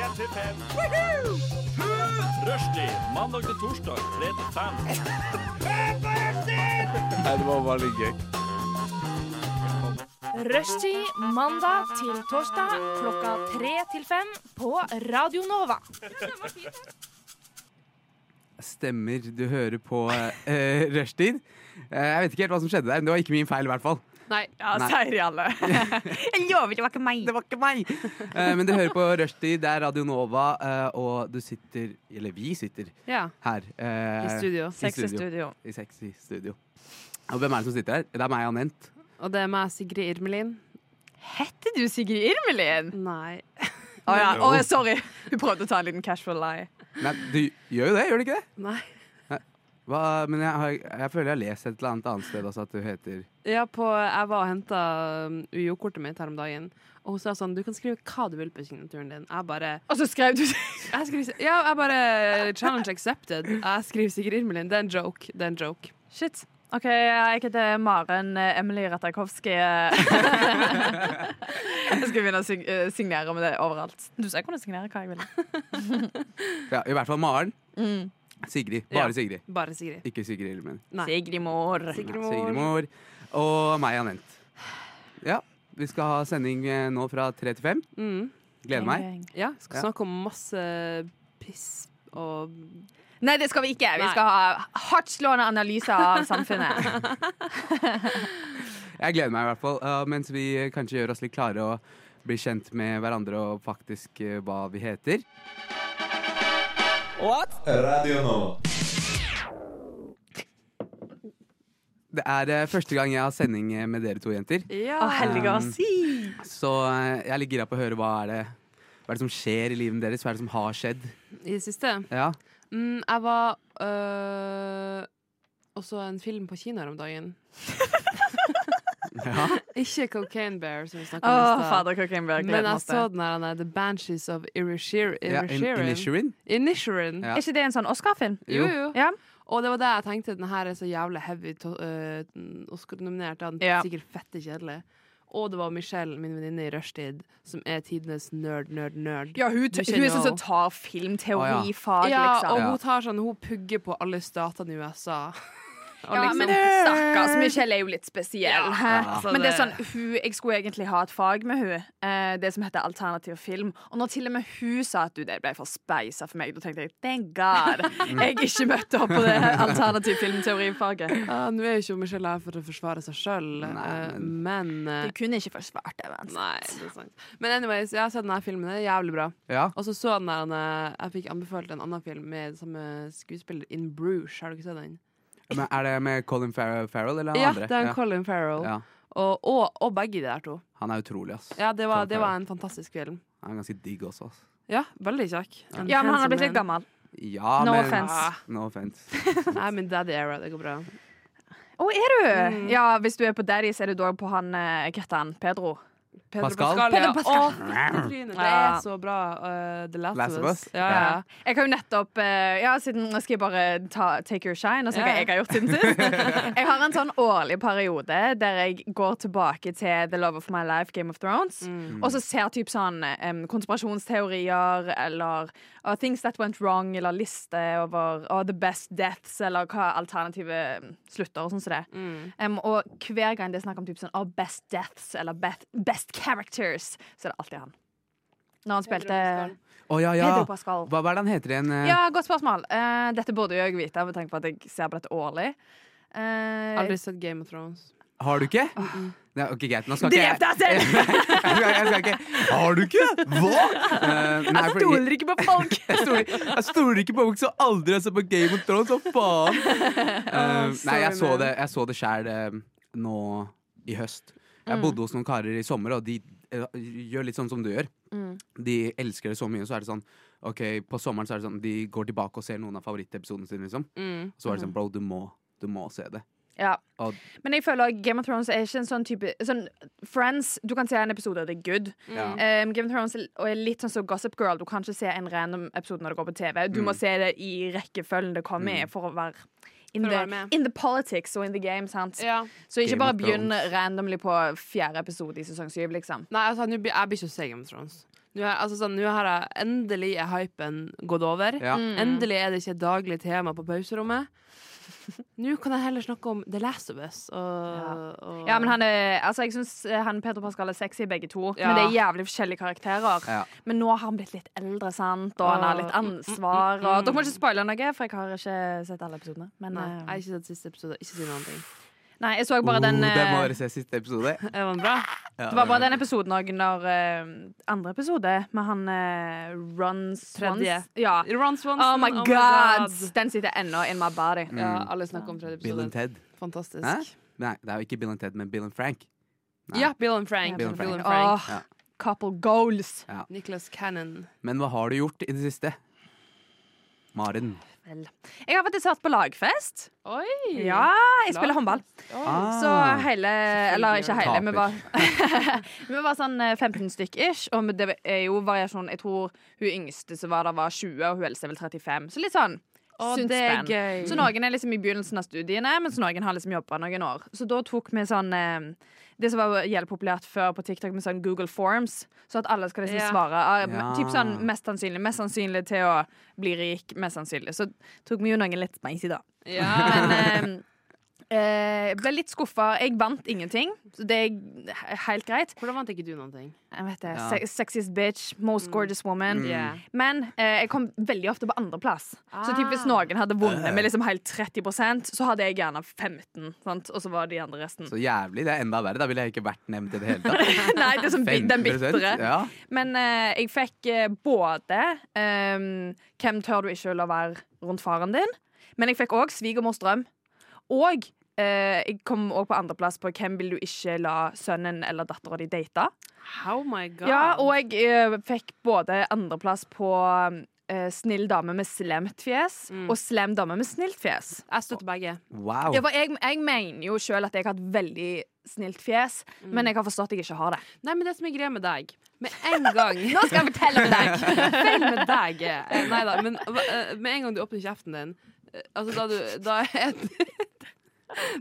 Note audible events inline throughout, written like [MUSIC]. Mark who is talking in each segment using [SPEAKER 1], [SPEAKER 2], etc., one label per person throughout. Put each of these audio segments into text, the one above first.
[SPEAKER 1] én til fem. Rushtid mandag til torsdag tre til fem.
[SPEAKER 2] Nei, det var veldig gøy.
[SPEAKER 3] Rushtid mandag til torsdag klokka tre til fem på Radio Nova.
[SPEAKER 2] Stemmer. Du hører på uh, rushtid. Eh, jeg vet ikke helt hva som skjedde der, men det var ikke min feil i hvert fall.
[SPEAKER 4] Nei.
[SPEAKER 5] Ja,
[SPEAKER 2] Nei.
[SPEAKER 5] sier de alle. Jeg lover ikke, det var ikke meg.
[SPEAKER 2] Det var ikke meg! Eh, men du hører på rushtid, det er Radio Nova, eh, og du sitter Eller vi sitter
[SPEAKER 4] Ja.
[SPEAKER 2] her. eh,
[SPEAKER 4] I studio.
[SPEAKER 5] Sexy
[SPEAKER 2] studio.
[SPEAKER 5] studio.
[SPEAKER 2] I sexy studio. Og hvem er det som sitter her? Det er meg og Nent.
[SPEAKER 4] Og det er meg, Sigrid Irmelin.
[SPEAKER 5] Heter du Sigrid Irmelin?
[SPEAKER 4] Nei.
[SPEAKER 5] Å ja.
[SPEAKER 2] Jo.
[SPEAKER 5] Å, sorry. Hun prøvde å ta en liten casual lie.
[SPEAKER 2] Nei, du gjør jo det, gjør du ikke det?
[SPEAKER 4] Nei.
[SPEAKER 2] Hva, men jeg, har, jeg føler jeg har lest et eller annet annet sted også at du heter
[SPEAKER 4] Ja, på, jeg var og henta UiO-kortet mitt her om dagen, og hun sa sånn Du kan skrive hva du vil på signaturen din. Jeg bare
[SPEAKER 5] [LAUGHS] Og så skrev du
[SPEAKER 4] jeg skriver, Ja, jeg bare Challenge accepted. Jeg skriver Sigrid Irmelin. Det er en joke. Det er en joke.
[SPEAKER 5] Shit. OK, jeg heter Maren eh, Emily Ratajkowski. [LAUGHS] jeg skal begynne å sig eh, signere med det overalt. Du sa jeg kunne signere hva jeg ville.
[SPEAKER 2] ja, I hvert fall Maren.
[SPEAKER 5] Mm.
[SPEAKER 2] Sigrid. Bare
[SPEAKER 4] Ja.
[SPEAKER 2] Sigrid.
[SPEAKER 4] Bare Sigrid.
[SPEAKER 2] Ikke Sigrid Ilmen.
[SPEAKER 4] Nei.
[SPEAKER 5] Sigrid Mår.
[SPEAKER 4] Sigrid
[SPEAKER 2] Nei,
[SPEAKER 4] Mor.
[SPEAKER 2] Mor. Og meg, Anent. Ja, vi skal ha sending eh, nå fra tre til fem.
[SPEAKER 4] Mm.
[SPEAKER 2] Gleder meg.
[SPEAKER 4] Ja, skal
[SPEAKER 2] Ja.
[SPEAKER 4] snakke om masse piss og
[SPEAKER 5] Nei, det skal vi ikke. Vi
[SPEAKER 4] Nei.
[SPEAKER 5] skal ha hardtslående analyser av samfunnet.
[SPEAKER 2] Jeg gleder meg i hvert fall. eh, mens vi eh, kanskje gjør oss litt klare og blir kjent med hverandre og faktisk eh, hva vi heter.
[SPEAKER 6] Radio Nova.
[SPEAKER 2] Det er eh, første gang jeg har sending eh, med dere to jenter.
[SPEAKER 4] Ja.
[SPEAKER 5] [LAUGHS] Å, hellige å
[SPEAKER 2] Um,
[SPEAKER 5] si!
[SPEAKER 2] Så eh, jeg er litt gira på å høre hva er det hva er det som skjer i livet deres? Hva er det som har skjedd?
[SPEAKER 4] I det siste.
[SPEAKER 2] Ja,
[SPEAKER 4] Mm, jeg var øh, også en film på kino her om dagen.
[SPEAKER 2] ja.
[SPEAKER 4] [LAUGHS] Ikke Cocaine Bear, som vi snakka om
[SPEAKER 5] Å,
[SPEAKER 4] i stad.
[SPEAKER 5] fader, kokain blir
[SPEAKER 4] Men altså,
[SPEAKER 5] gleden
[SPEAKER 4] jeg
[SPEAKER 5] hos
[SPEAKER 4] så den her, den der The Banshees of Inisherin.
[SPEAKER 2] ja in- Inisherin?
[SPEAKER 4] Inisherin.
[SPEAKER 2] Ja.
[SPEAKER 5] Er ikke det en sånn Oscar-film?
[SPEAKER 4] Jo, jo.
[SPEAKER 5] Ja.
[SPEAKER 4] Og det var det jeg tenkte. Den her er så jævlig heavy to- øh, Oscar-nominert. Den er
[SPEAKER 5] Ja.
[SPEAKER 4] sikkert fette kjedelig. Og det var Michelle, min venninne i rushtid, som er tidenes nerd, nerd, nerd.
[SPEAKER 5] Ja, hun,
[SPEAKER 4] Du
[SPEAKER 5] hun
[SPEAKER 4] kjenner
[SPEAKER 5] er sånn
[SPEAKER 4] henne.
[SPEAKER 5] som tar filmteorifag,
[SPEAKER 4] Ja,
[SPEAKER 5] liksom.
[SPEAKER 4] og
[SPEAKER 2] Ja.
[SPEAKER 4] hun tar sånn Hun pugger på alle statene i USA. [LAUGHS] Og
[SPEAKER 5] Ja,
[SPEAKER 4] liksom-
[SPEAKER 5] men stakkars Michelle er jo litt spesiell. hæ?
[SPEAKER 4] altså,
[SPEAKER 5] [LAUGHS] men det er sånn,
[SPEAKER 4] det-
[SPEAKER 5] hun, jeg skulle egentlig ha et fag med hun eh, det som heter alternativ film. Og når til og med hun sa at du, det ble for speisa for meg, da tenkte jeg thank god jeg ikke møtte opp på det her alternativ filmteorifaget.
[SPEAKER 4] Ja, nå er jo ikke Michelle her for å forsvare seg sjøl,
[SPEAKER 2] Nei,
[SPEAKER 4] men eh,
[SPEAKER 5] Du kunne ikke forsvart det. Men.
[SPEAKER 4] Nei, det er sant. Men anyways, jeg har sett denne filmen. Det er jævlig bra.
[SPEAKER 2] Ja.
[SPEAKER 4] Og så så den der eh, Jeg fikk anbefalt en annen film med samme skuespiller, In Bruges. Har du ikke sett den?
[SPEAKER 2] Men er det med Colin Farrell, Farrell eller han
[SPEAKER 4] Ja,
[SPEAKER 2] andre?
[SPEAKER 4] det er en Colin Farrell.
[SPEAKER 2] Ja.
[SPEAKER 4] Og, og, og begge de der to.
[SPEAKER 2] Han er utrolig, ass.
[SPEAKER 4] Ja, det
[SPEAKER 2] Colin
[SPEAKER 4] var, det var
[SPEAKER 2] Farrell.
[SPEAKER 4] en fantastisk film.
[SPEAKER 2] Han er ganske digg også, ass.
[SPEAKER 4] Ja, veldig kjekk. En
[SPEAKER 5] Ja, men han har
[SPEAKER 4] handsome
[SPEAKER 5] blitt litt
[SPEAKER 4] man.
[SPEAKER 5] gammel.
[SPEAKER 2] Ja,
[SPEAKER 5] No
[SPEAKER 2] men
[SPEAKER 5] offense.
[SPEAKER 2] Ah, No offense.
[SPEAKER 4] Nei, min daddy era. Det går bra.
[SPEAKER 5] Å, er du? Ja, hvis du er på Daddy, så er du da på han eh, hva heter han? Pedro.
[SPEAKER 4] Pedro
[SPEAKER 2] Pascal?
[SPEAKER 4] ja.
[SPEAKER 5] Pedro Pascal.
[SPEAKER 4] Å, trynet, det
[SPEAKER 5] Ja.
[SPEAKER 4] er så bra. eh, The Last,
[SPEAKER 2] Last
[SPEAKER 4] of
[SPEAKER 2] of
[SPEAKER 4] Us.
[SPEAKER 2] Us?
[SPEAKER 4] Ja, ja.
[SPEAKER 5] Ja. Jeg har jo nettopp eh, Ja, siden nå skal jeg bare ta Take Your Shine og snakke
[SPEAKER 4] Ja.
[SPEAKER 5] jeg har gjort siden sist. Jeg har en sånn årlig periode der jeg går tilbake til The Love of My Life, Game of Thrones, og så ser typ sånn em, konspirasjonsteorier eller uh, Things That Went Wrong, eller liste over uh, The Best Deaths, eller hva alternative em, slutter og sånn som det.
[SPEAKER 4] Mm.
[SPEAKER 5] Em, og hver gang det er snakk om typ sånn oh, Best Deaths eller best, best Characters, så er det alltid han. Når han spilte
[SPEAKER 2] Å ja, ja.
[SPEAKER 5] Pedro Pascal.
[SPEAKER 2] Hva, hva er det han heter igjen? eh?
[SPEAKER 5] Ja, godt spørsmål. Eh, dette burde jo jeg vite, med tanke på at jeg ser på dette årlig. Eh,
[SPEAKER 4] Aldri sett Game of Thrones.
[SPEAKER 2] Har du ikke? Nei, ok, greit. Nå skal ikke
[SPEAKER 5] Uh,
[SPEAKER 2] jeg
[SPEAKER 5] Drep deg
[SPEAKER 2] [LAUGHS]
[SPEAKER 5] selv!
[SPEAKER 2] jeg skal, jeg skal ikke Har du ikke? Hva?!
[SPEAKER 5] [LAUGHS]
[SPEAKER 2] Eh, nei,
[SPEAKER 5] altså, Jeg
[SPEAKER 2] fordi-
[SPEAKER 5] stoler ikke på folk!
[SPEAKER 2] [LAUGHS] jeg stoler- jeg stoler ikke på folk som aldri har sett på Game of Thrones, hva
[SPEAKER 5] [LAUGHS]
[SPEAKER 2] faen! Eh, nei, jeg så
[SPEAKER 4] sorry, man.
[SPEAKER 2] det, jeg så det sjæl nå i høst.
[SPEAKER 5] Mm.
[SPEAKER 2] Jeg bodde hos noen karer i sommer, og de eh, gjør litt sånn som du gjør.
[SPEAKER 5] Mm.
[SPEAKER 2] De elsker det så mye, så er det sånn Ok, På sommeren så er det sånn de går tilbake og ser noen av favorittepisodene sine, liksom.
[SPEAKER 4] Mm.
[SPEAKER 2] Så
[SPEAKER 5] Mhm.
[SPEAKER 2] var det sånn, bro, du må, du må se det.
[SPEAKER 5] Ja.
[SPEAKER 2] Og-
[SPEAKER 5] Men jeg føler at Game of Thrones er ikke en sånn type sånn, Friends, du kan se en episode, og det er good.
[SPEAKER 4] Mm.
[SPEAKER 2] Ja.
[SPEAKER 5] Um, Game of Thrones er og er litt sånn som Gossip Girl. Du kan ikke se en random episode når det går på TV. Du må se det i rekkefølgen det kommer i, for å være in,
[SPEAKER 4] For å
[SPEAKER 5] the,
[SPEAKER 4] være med.
[SPEAKER 5] in the politics og in the game. sant?
[SPEAKER 4] Ja.
[SPEAKER 5] Så ikke
[SPEAKER 2] Game
[SPEAKER 5] bare
[SPEAKER 2] of
[SPEAKER 5] begynn
[SPEAKER 2] Thrones.
[SPEAKER 5] randomly på fjerde episode i sesong syv, liksom.
[SPEAKER 4] Nei, altså, nå blir- jeg blir ikke å se Game of Thrones. Nå er- altså sånn, nå har jeg endelig er hypen gått over.
[SPEAKER 2] Ja.
[SPEAKER 4] Endelig er det ikke et daglig tema på pauserommet. [LAUGHS] Nå kan jeg heller snakke om The Last of Us. Og, og,
[SPEAKER 5] Ja, men han er, altså Jeg syns han Peter Pascal er sexy, begge to.
[SPEAKER 4] Ja.
[SPEAKER 5] Men det er jævlig forskjellige karakterer.
[SPEAKER 2] Ja.
[SPEAKER 5] Men nå har han blitt litt eldre, sant? og han har
[SPEAKER 4] mm,
[SPEAKER 5] litt ansvar. Og, dere må ikke spoile noe, for jeg har ikke sett alle episodene. Men,
[SPEAKER 4] Nei,
[SPEAKER 5] eh,
[SPEAKER 4] jeg har ikke sett siste episode. Ikke si noen ting.
[SPEAKER 5] nei, jeg så bare den
[SPEAKER 2] oh, det må
[SPEAKER 5] eh,
[SPEAKER 2] dere se siste episode.
[SPEAKER 5] [LAUGHS]
[SPEAKER 2] Ja,
[SPEAKER 4] Er den bra?
[SPEAKER 5] Det var bare den episoden òg, når eh, Andre episode med han eh, Ron Swans.
[SPEAKER 4] Tredje.
[SPEAKER 5] Ja.
[SPEAKER 4] Ron Swanson.
[SPEAKER 5] Oh my god! Den sitter ennå in my body.
[SPEAKER 2] Mm.
[SPEAKER 4] Ja, alle snakker om tredje
[SPEAKER 2] Bill and
[SPEAKER 4] episode.
[SPEAKER 2] Ted.
[SPEAKER 4] Fantastisk.
[SPEAKER 2] Hæ? Nei, det er jo ikke Bill and Ted, men Bill and Frank. Nei.
[SPEAKER 4] Ja, Bill and Frank.
[SPEAKER 2] Bill and Frank.
[SPEAKER 5] Åh,
[SPEAKER 2] Ja.
[SPEAKER 5] couple goals.
[SPEAKER 4] Nicholas Cannon.
[SPEAKER 2] Men hva har du gjort i det siste? Maren.
[SPEAKER 5] Vel. Jeg har faktisk vært på lagfest.
[SPEAKER 4] Oi!
[SPEAKER 5] Ja, jeg
[SPEAKER 4] Lagfest.
[SPEAKER 5] spiller håndball.
[SPEAKER 4] Oi.
[SPEAKER 5] Så
[SPEAKER 2] Ah.
[SPEAKER 5] hele Eller ikke hele,
[SPEAKER 2] Taper.
[SPEAKER 5] vi var, [LAUGHS] vi var sånn eh, 15 stykk ish. Og det er jo variasjon. Jeg tror hun yngste som var der, var 20, og hun eldste er vel 35. Så litt sånn
[SPEAKER 4] Å,
[SPEAKER 5] sunt
[SPEAKER 4] det er
[SPEAKER 5] spenn.
[SPEAKER 4] gøy.
[SPEAKER 5] Så noen er liksom i begynnelsen av studiene, mens noen har liksom jobba noen år. Så da tok vi sånn eh, det som var jævlig populært før på TikTok, med sånn Google Forms. Så at alle skal liksom
[SPEAKER 4] Ja.
[SPEAKER 5] svare. ah,
[SPEAKER 2] Ja.
[SPEAKER 5] Typ sånn mest sannsynlig, mest sannsynlig til å bli rik, mest sannsynlig. Så tok vi jo noen litt spicy, da.
[SPEAKER 4] Ja.
[SPEAKER 5] Men eh, eh, ble litt skuffa. Jeg vant ingenting, så det er he- helt greit.
[SPEAKER 4] Hvordan vant ikke du noen ting?
[SPEAKER 5] Jeg vet det,
[SPEAKER 2] Ja.
[SPEAKER 5] se Sexiest bitch,
[SPEAKER 2] Mm.
[SPEAKER 5] most gorgeous woman.
[SPEAKER 4] Yeah.
[SPEAKER 5] Men eh, jeg kom veldig ofte på andreplass. Så typ hvis
[SPEAKER 4] Ah.
[SPEAKER 5] noen hadde
[SPEAKER 2] Eh.
[SPEAKER 5] vunnet med liksom helt 30 så hadde jeg gjerne 15 sant? Og så var de andre resten.
[SPEAKER 2] Så jævlig. Det er enda verre. Da ville jeg ikke vært nevnt i det hele tatt.
[SPEAKER 5] [LAUGHS] Nei, det er som, bi- den
[SPEAKER 2] 15%,
[SPEAKER 5] bitre.
[SPEAKER 2] Ja.
[SPEAKER 5] Men eh, jeg fikk eh, både ehm, Hvem tør du ikke å la være rundt faren din? Men jeg fikk òg Svigermors drøm. Og eh, jeg kom òg på andreplass på Hvem vil du ikke la sønnen eller dattera di date?
[SPEAKER 4] Oh my god.
[SPEAKER 5] Ja, og jeg eh, fikk både andreplass på eh, Snill dame med slemt fjes og Slem dame med snilt fjes.
[SPEAKER 4] jeg støtter begge.
[SPEAKER 2] Wow.
[SPEAKER 5] Ja, for jeg, jeg mener jo sjøl at jeg har et veldig snilt fjes, men jeg har forstått at jeg ikke har det.
[SPEAKER 4] Nei, men det som er greia med deg Med en gang
[SPEAKER 5] [LAUGHS] Nå skal jeg fortelle om deg!
[SPEAKER 4] [LAUGHS] Feil med deg eh, Neida, men eh, med en gang du åpner kjeften din eh, Altså da du Da er [LAUGHS]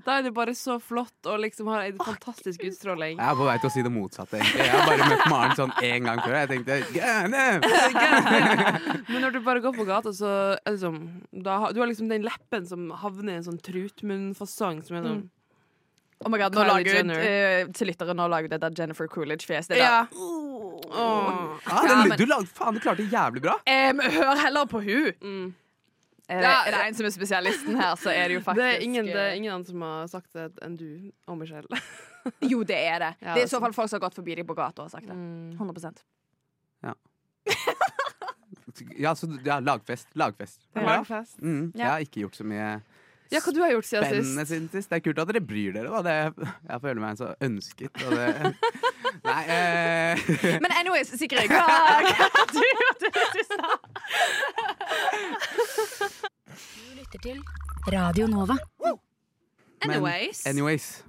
[SPEAKER 4] Da er du bare så flott Og liksom har en fantastisk utstråling [LAUGHS]
[SPEAKER 2] Jeg er på vei til å si det motsatte. egentlig. Jeg har bare møtt Maren sånn én gang før. Jeg tenkte Gæne!
[SPEAKER 4] Men når du bare går på gata så er det som da, har- Du har liksom den leppen som havner i en sånn trutmunnfasong Som er sånn
[SPEAKER 5] Mm. Oh my god, nå
[SPEAKER 4] Kylie
[SPEAKER 5] lager hun
[SPEAKER 4] Jenner.
[SPEAKER 5] eh, til lyttere, nå lager hun det der Jennifer Coolidge-fjes. det der.
[SPEAKER 4] Ja Åh.
[SPEAKER 2] Ja, Ah, den, du, lagde, faen, du klarte det jævlig bra.
[SPEAKER 5] Em, hør heller på hun
[SPEAKER 4] Mm.
[SPEAKER 5] Er, det,
[SPEAKER 4] Ja,
[SPEAKER 5] er det en som er spesialisten her, så er [LAUGHS] det jo faktisk
[SPEAKER 4] det, er ingen, det er
[SPEAKER 5] eh,
[SPEAKER 4] ingen annen som har sagt det enn du og Michelle
[SPEAKER 5] Jo, det er det.
[SPEAKER 4] Ja,
[SPEAKER 5] det er i
[SPEAKER 4] altså.
[SPEAKER 5] så fall folk som har gått forbi deg på gata og sagt det.
[SPEAKER 4] [LAUGHS]
[SPEAKER 5] 100
[SPEAKER 2] Ja, så du- ja, lagfest. Lagfest. Bra.
[SPEAKER 4] Lagfest.
[SPEAKER 2] Mm, jeg har ikke gjort så mye
[SPEAKER 4] Ja, hva du har gjort siden sist?
[SPEAKER 2] spennende siden sist. Det er kult at dere bryr dere. Da. Det, jeg føler meg så ønsket. Og
[SPEAKER 4] [LAUGHS]
[SPEAKER 2] det, nei, eh,
[SPEAKER 5] Men anyways, Sigrid, [LAUGHS] hva hva har du gjort i det siste?
[SPEAKER 6] lytter til Radio Nova.
[SPEAKER 2] men
[SPEAKER 4] Anyways.
[SPEAKER 2] anyways.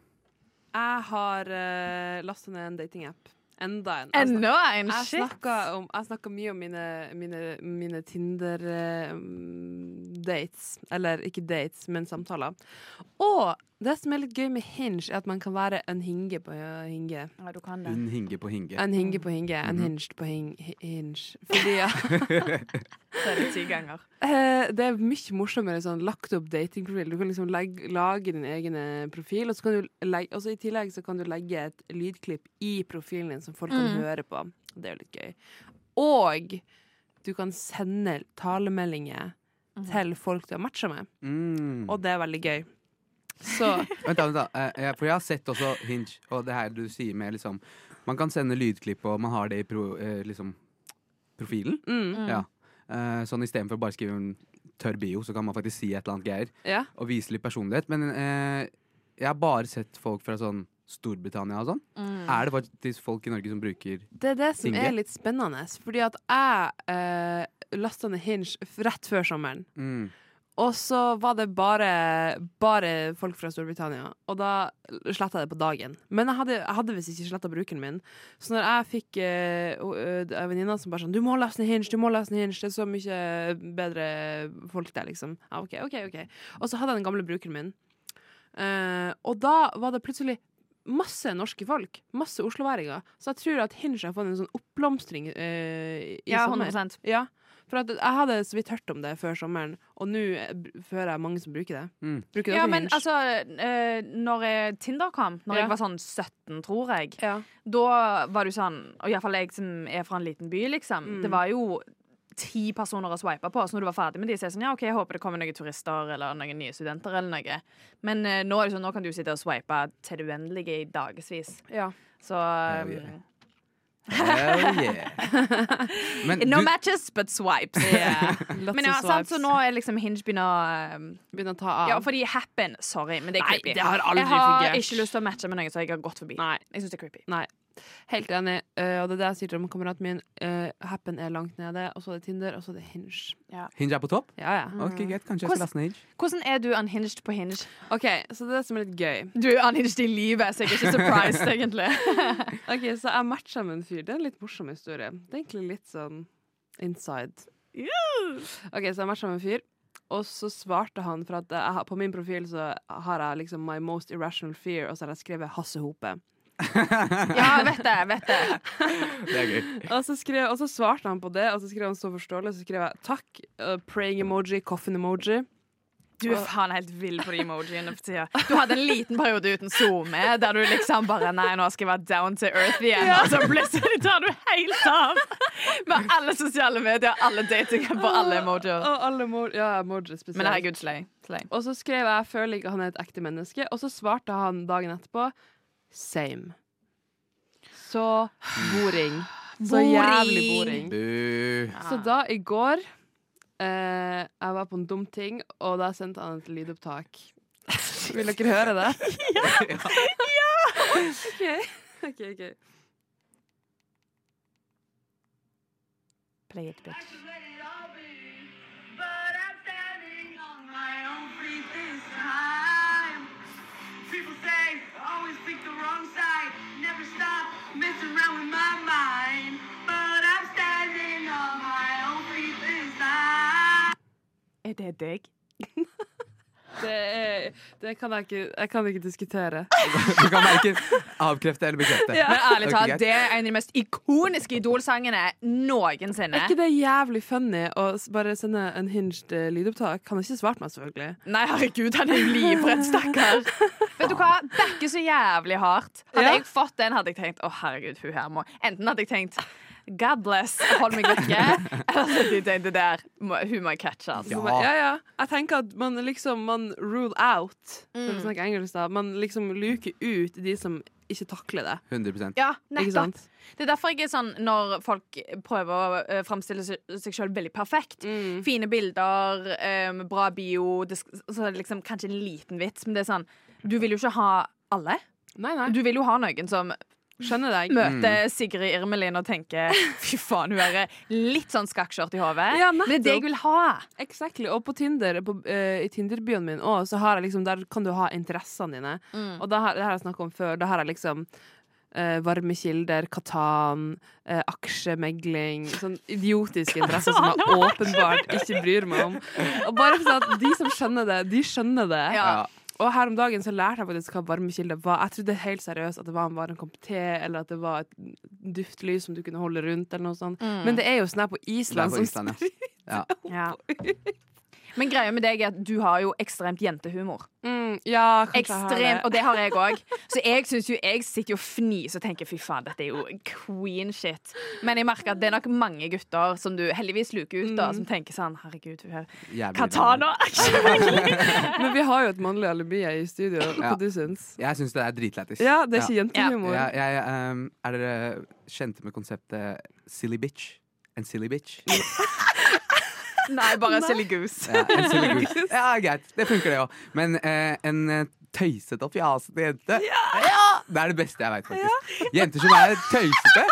[SPEAKER 4] Jeg har uh, lastet ned en datingapp. Enda en. Jeg
[SPEAKER 5] Enda en
[SPEAKER 4] snak- Jeg
[SPEAKER 5] shit.
[SPEAKER 4] snakker, om, jeg snakker mye om mine, mine, mine Tinder-dates. Eller ikke dates, men samtaler. Og det som er litt gøy med Hinge, er at man kan være en hinge på eh, hinge.
[SPEAKER 5] Ja, du kan det.
[SPEAKER 2] Hun hinge på hinge.
[SPEAKER 4] En hinge på hinge. En hinged på hing, hi- hinge. Fordi ja,
[SPEAKER 5] Så er det ti ganger.
[SPEAKER 4] Eh, det er mye morsommere sånn lagt opp datingprofil. Du kan liksom legge, lage din egen eh, profil, og så kan du legge, og så i tillegg så kan du legge et lydklipp i profilen din som folk kan høre på. Det er jo litt gøy. Og du kan sende talemeldinger til folk du har matcha med,
[SPEAKER 2] Mm.
[SPEAKER 4] og det er veldig gøy. Så
[SPEAKER 2] Vent, da, vent da. Eh, eh, For jeg har sett også Hinge, og det her du sier med liksom Man kan sende lydklipp, og man har det i pro, eh, liksom, profilen.
[SPEAKER 4] mm,
[SPEAKER 2] Ja. Eh, sånn istedenfor bare å skrive en tørr bio, så kan man faktisk si et eller annet greier.
[SPEAKER 4] ja.
[SPEAKER 2] Og vise litt personlighet. Men eh, jeg har bare sett folk fra sånn Storbritannia og sånn.
[SPEAKER 4] Mm.
[SPEAKER 2] Er det faktisk folk i Norge som bruker
[SPEAKER 4] Det er det som
[SPEAKER 2] Hinge?
[SPEAKER 4] er litt spennende, fordi at jeg eh, lasta ned Hinge f- rett før sommeren.
[SPEAKER 2] mm,
[SPEAKER 4] Og så var det bare, bare folk fra Storbritannia, og da sletta jeg det på dagen. Men jeg hadde, jeg hadde visst ikke sletta brukeren min. Så når jeg fikk eh, o- ø, d- en venninne som bare sånn 'Du må laste ned Hinge, du må laste ned Hinge, det er så mye bedre folk der', liksom. Ja, ok, ok, ok. Og så hadde jeg den gamle brukeren min. Eh, og da var det plutselig masse norske folk. Masse osloværinger. Så jeg tror at Hinge har fått en sånn oppblomstring eh, i
[SPEAKER 5] Ja,
[SPEAKER 4] sommer.
[SPEAKER 5] 100
[SPEAKER 4] Ja, for at jeg hadde så vidt hørt om det før sommeren, og nå eh, b- føler jeg mange som bruker det.
[SPEAKER 2] Mm.
[SPEAKER 4] Bruker dere
[SPEAKER 5] Ja, men
[SPEAKER 4] Hinge?
[SPEAKER 5] altså, eh, når eh, Tinder kom, når
[SPEAKER 4] Ja.
[SPEAKER 5] jeg var sånn 17, tror jeg,
[SPEAKER 4] ja.
[SPEAKER 5] da var du sånn Og iallfall jeg som er fra en liten by, liksom.
[SPEAKER 4] Mm.
[SPEAKER 5] Det var jo ti personer å swipe på, så når du var ferdig med de, så er det sånn Ja, OK, jeg håper det kommer noen turister eller noen nye studenter eller noe. Men eh, nå er det sånn, nå kan du sitte og swipe til det uendelige i dagevis.
[SPEAKER 4] Ja.
[SPEAKER 5] Så um,
[SPEAKER 2] Hell yeah. Hell yeah.
[SPEAKER 5] [LAUGHS]
[SPEAKER 2] Men
[SPEAKER 5] No
[SPEAKER 2] du,
[SPEAKER 5] matches, but swipes.
[SPEAKER 4] [LAUGHS] [LAUGHS] Lots
[SPEAKER 5] Men ja,
[SPEAKER 4] of
[SPEAKER 5] sant,
[SPEAKER 4] swipes.
[SPEAKER 5] så nå er liksom Hinge begynner å
[SPEAKER 4] Begynner å ta av.
[SPEAKER 5] Ja, fordi happen, sorry, men det er
[SPEAKER 4] Nei,
[SPEAKER 5] creepy.
[SPEAKER 4] det har aldri
[SPEAKER 5] jeg har
[SPEAKER 4] fungert.
[SPEAKER 5] ikke lyst til å matche med noen som jeg har gått forbi.
[SPEAKER 4] Nei.
[SPEAKER 5] Jeg synes det er creepy.
[SPEAKER 4] Nei. Helt enig, eh, og det er det jeg sier til om kameraten min. eh, happen er langt nede, og så er det Tinder, og så er det Hinge.
[SPEAKER 2] Hinge er på topp?
[SPEAKER 4] Ja, ja.
[SPEAKER 2] Ok, greit. Kanskje jeg skal laste ned Hinge.
[SPEAKER 5] Mm. Hvordan er du unhinged på hinge?
[SPEAKER 4] OK, så det er det som er litt gøy.
[SPEAKER 5] Du er unhinged i livet, så jeg er ikke
[SPEAKER 4] [LAUGHS]
[SPEAKER 5] surprised, egentlig.
[SPEAKER 4] Ok, Så jeg matcha med en fyr. Det er en litt morsom historie. Det er egentlig litt sånn inside. Ok, Så jeg matcha med en fyr, og så svarte han for at jeg, har- på min profil så har jeg liksom My most irrational fear, og så har jeg skrevet Hasse Hope.
[SPEAKER 5] Ja, vet det, vet det.
[SPEAKER 2] Det er gøy.
[SPEAKER 4] Og så, skrev, og så svarte han på det, og så skrev han så forståelig, og så skrev jeg takk, uh, praying emoji, coffin emoji.
[SPEAKER 5] Du er faen helt vill på de emojiene for tida. Du hadde en liten periode uten SoMe, der du liksom bare Nei, nå skal jeg være down to earth igjen. Og så plutselig tar du helt av med alle sosiale medier, alle datinger på alle emojier.
[SPEAKER 4] Og alle mo ja, emoji spesielt.
[SPEAKER 5] Men herregud, slay. slay.
[SPEAKER 4] Og så skrev jeg 'føler ikke han er et ekte menneske', og så svarte han dagen etterpå 'same'. Så boring. Så jævlig boring.
[SPEAKER 2] Du.
[SPEAKER 4] Så da, i går eh, Jeg var på en dum ting, og da sendte han et lydopptak. Vil dere høre det? ja! OK. ok, ok.
[SPEAKER 5] Play it, bitch.
[SPEAKER 7] People say I always pick the wrong side, never stop messing around with my mind. But I'm standing on my own feet this time.
[SPEAKER 5] Er det deg?
[SPEAKER 4] Det, er- det kan jeg ikke Jeg kan ikke diskutere.
[SPEAKER 2] Du kan verken avkrefte eller bekrefte.
[SPEAKER 5] Men ærlig
[SPEAKER 2] Ok,
[SPEAKER 5] talt,
[SPEAKER 2] greit.
[SPEAKER 5] det er en av de mest ikoniske Idol-sangene noensinne.
[SPEAKER 4] Er ikke det jævlig funny å s- bare sende en hinged eh, lydopptak? Han har ikke svart meg, selvfølgelig.
[SPEAKER 5] Nei, herregud, han er livredd, stakkar. [LAUGHS] Vet du hva? Det er ikke så jævlig hardt. Hadde
[SPEAKER 4] Ja.
[SPEAKER 5] jeg fått den, hadde jeg tenkt å herregud, hun her må Enten hadde jeg tenkt God bless, hold meg [LAUGHS] vekke. Eller så hadde jeg tenkt det der, må, hun må jeg catche. Altså.
[SPEAKER 2] Ja.
[SPEAKER 4] Så bare, ja, ja. Jeg tenker at man liksom Man rule out, for å snakke engelsk, da. Man liksom luker ut de som ikke takler det.
[SPEAKER 2] 100
[SPEAKER 5] Ja,
[SPEAKER 4] Ikke
[SPEAKER 5] nettopp.
[SPEAKER 4] sant?
[SPEAKER 5] Det er derfor jeg er sånn når folk prøver å eh, framstille se- seg sjøl veldig perfekt. Fine bilder, eh, bra bio, det, sk- så er det liksom kanskje en liten vits, men det er sånn Du vil jo ikke ha alle.
[SPEAKER 4] Nei, nei.
[SPEAKER 5] Du vil jo ha noen som
[SPEAKER 4] Skjønner deg.
[SPEAKER 5] møter Sigrid Irmelin og tenker Fy faen, hun er litt sånn skakkskjørt i hodet.
[SPEAKER 4] Ja,
[SPEAKER 5] men det er det jeg vil ha.
[SPEAKER 4] Exactly. Og på Tinder, på, eh, i Tinderbyen min òg, så har jeg liksom Der kan du ha interessene dine. Og da har, det har jeg snakket om før. Da har jeg liksom eh, varme kilder, Katan, eh, aksjemegling Sånn idiotiske interesser som jeg åpenbart ikke bryr meg om. Og bare sånn at de som skjønner det, de skjønner det.
[SPEAKER 5] Ja.
[SPEAKER 4] Og her om dagen så lærte jeg faktisk hva varmekilde var. Jeg trodde helt seriøst at det var en varm kopp te, eller at det var et duftlys som du kunne holde rundt, eller noe sånt. Men det er jo sånn her på
[SPEAKER 2] Det er
[SPEAKER 4] Island,
[SPEAKER 2] på Island, ja. ja.
[SPEAKER 4] [LAUGHS]
[SPEAKER 5] Men greia med deg er at du har jo ekstremt jentehumor.
[SPEAKER 4] som mm, Ja, kanskje jeg har det.
[SPEAKER 5] Ekstremt, og det har jeg òg. Så jeg synes jo, jeg sitter jo og fniser og tenker fy faen, dette er jo queen shit. Men jeg merker at det er nok mange gutter som du heldigvis luker ut,
[SPEAKER 4] Mm.
[SPEAKER 5] da, som tenker sånn herregud, hun her.
[SPEAKER 2] Jævlig irriterende.
[SPEAKER 5] Katana! [LAUGHS]
[SPEAKER 4] Men vi har jo et mannlig alibi her i studio.
[SPEAKER 2] Ja.
[SPEAKER 4] Hva du syns
[SPEAKER 2] Jeg syns det er dritlættis.
[SPEAKER 4] Ja, det er ikke
[SPEAKER 2] Ja.
[SPEAKER 4] jentehumor.
[SPEAKER 2] Jeg, jeg, ehm, er dere kjente med konseptet silly bitch? En silly bitch?
[SPEAKER 5] Nei, bare silly goose.
[SPEAKER 2] Ja, [LAUGHS] en silly goose. Ja, greit. Det funker, det òg. Men eh, en eh, tøysete og fjasete jente Ja! Det er det beste jeg veit, faktisk. Jenter som er tøysete.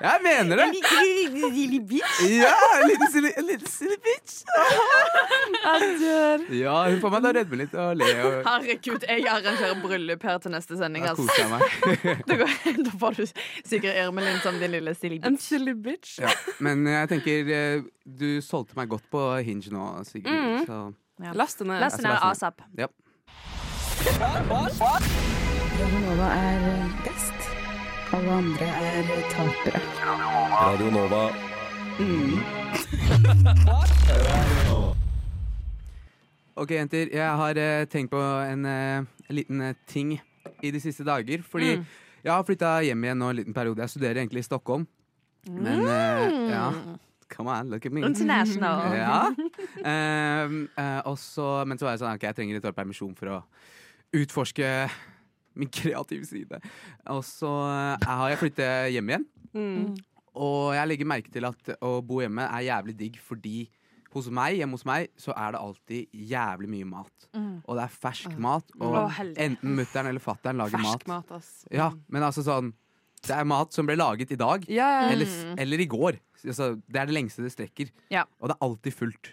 [SPEAKER 2] Jeg mener det. En Ja, en liten silly, en liten silly [LAUGHS] bitch.
[SPEAKER 4] Jeg dør.
[SPEAKER 2] Ja, hun får meg til å rødme litt og le og
[SPEAKER 5] Herregud, jeg arrangerer bryllup her til neste sending.
[SPEAKER 2] ja,
[SPEAKER 5] Altså.
[SPEAKER 2] kose meg. [LAUGHS]
[SPEAKER 5] Da, går, da får du Sigrid Irmelin som din lille Silje.
[SPEAKER 4] En silly bitch.
[SPEAKER 2] Ja. Men jeg tenker eh, du solgte meg godt på Hinge nå, Sigrid. Så
[SPEAKER 4] Last den ned.
[SPEAKER 5] Last ned
[SPEAKER 2] ned.
[SPEAKER 5] ASAP.
[SPEAKER 2] ja.
[SPEAKER 6] Radionova er eh, best. Alle andre er eh, tapere.
[SPEAKER 8] Radio Nova.
[SPEAKER 2] Mm. Ok, jenter. Jeg har eh, tenkt på en eh, liten eh, ting i de siste dager. Fordi jeg har flytta hjem igjen nå en liten periode. Jeg studerer egentlig i Stockholm. Men eh, ja Come on, look at me.
[SPEAKER 5] International.
[SPEAKER 2] Ja. Ehm, eh, og så, men så var jeg sånn, ok, jeg trenger et år permisjon for å utforske min kreative side. Og så eh, har jeg flyttet hjem igjen. Og jeg legger merke til at å bo hjemme er jævlig digg, fordi hos meg, hjemme hos meg så er det alltid jævlig mye mat. Og det er fersk mat, og
[SPEAKER 5] Å, heldig.
[SPEAKER 2] enten mutter'n eller fatter'n lager
[SPEAKER 4] Fersk
[SPEAKER 2] mat.
[SPEAKER 4] mat, ass.
[SPEAKER 2] Ja, men altså sånn Det er mat som ble laget i dag,
[SPEAKER 4] Ja, ja,
[SPEAKER 2] eller, eller i går. Altså, det er det lengste det strekker.
[SPEAKER 5] Mm. Ja.
[SPEAKER 2] Og det er alltid fullt.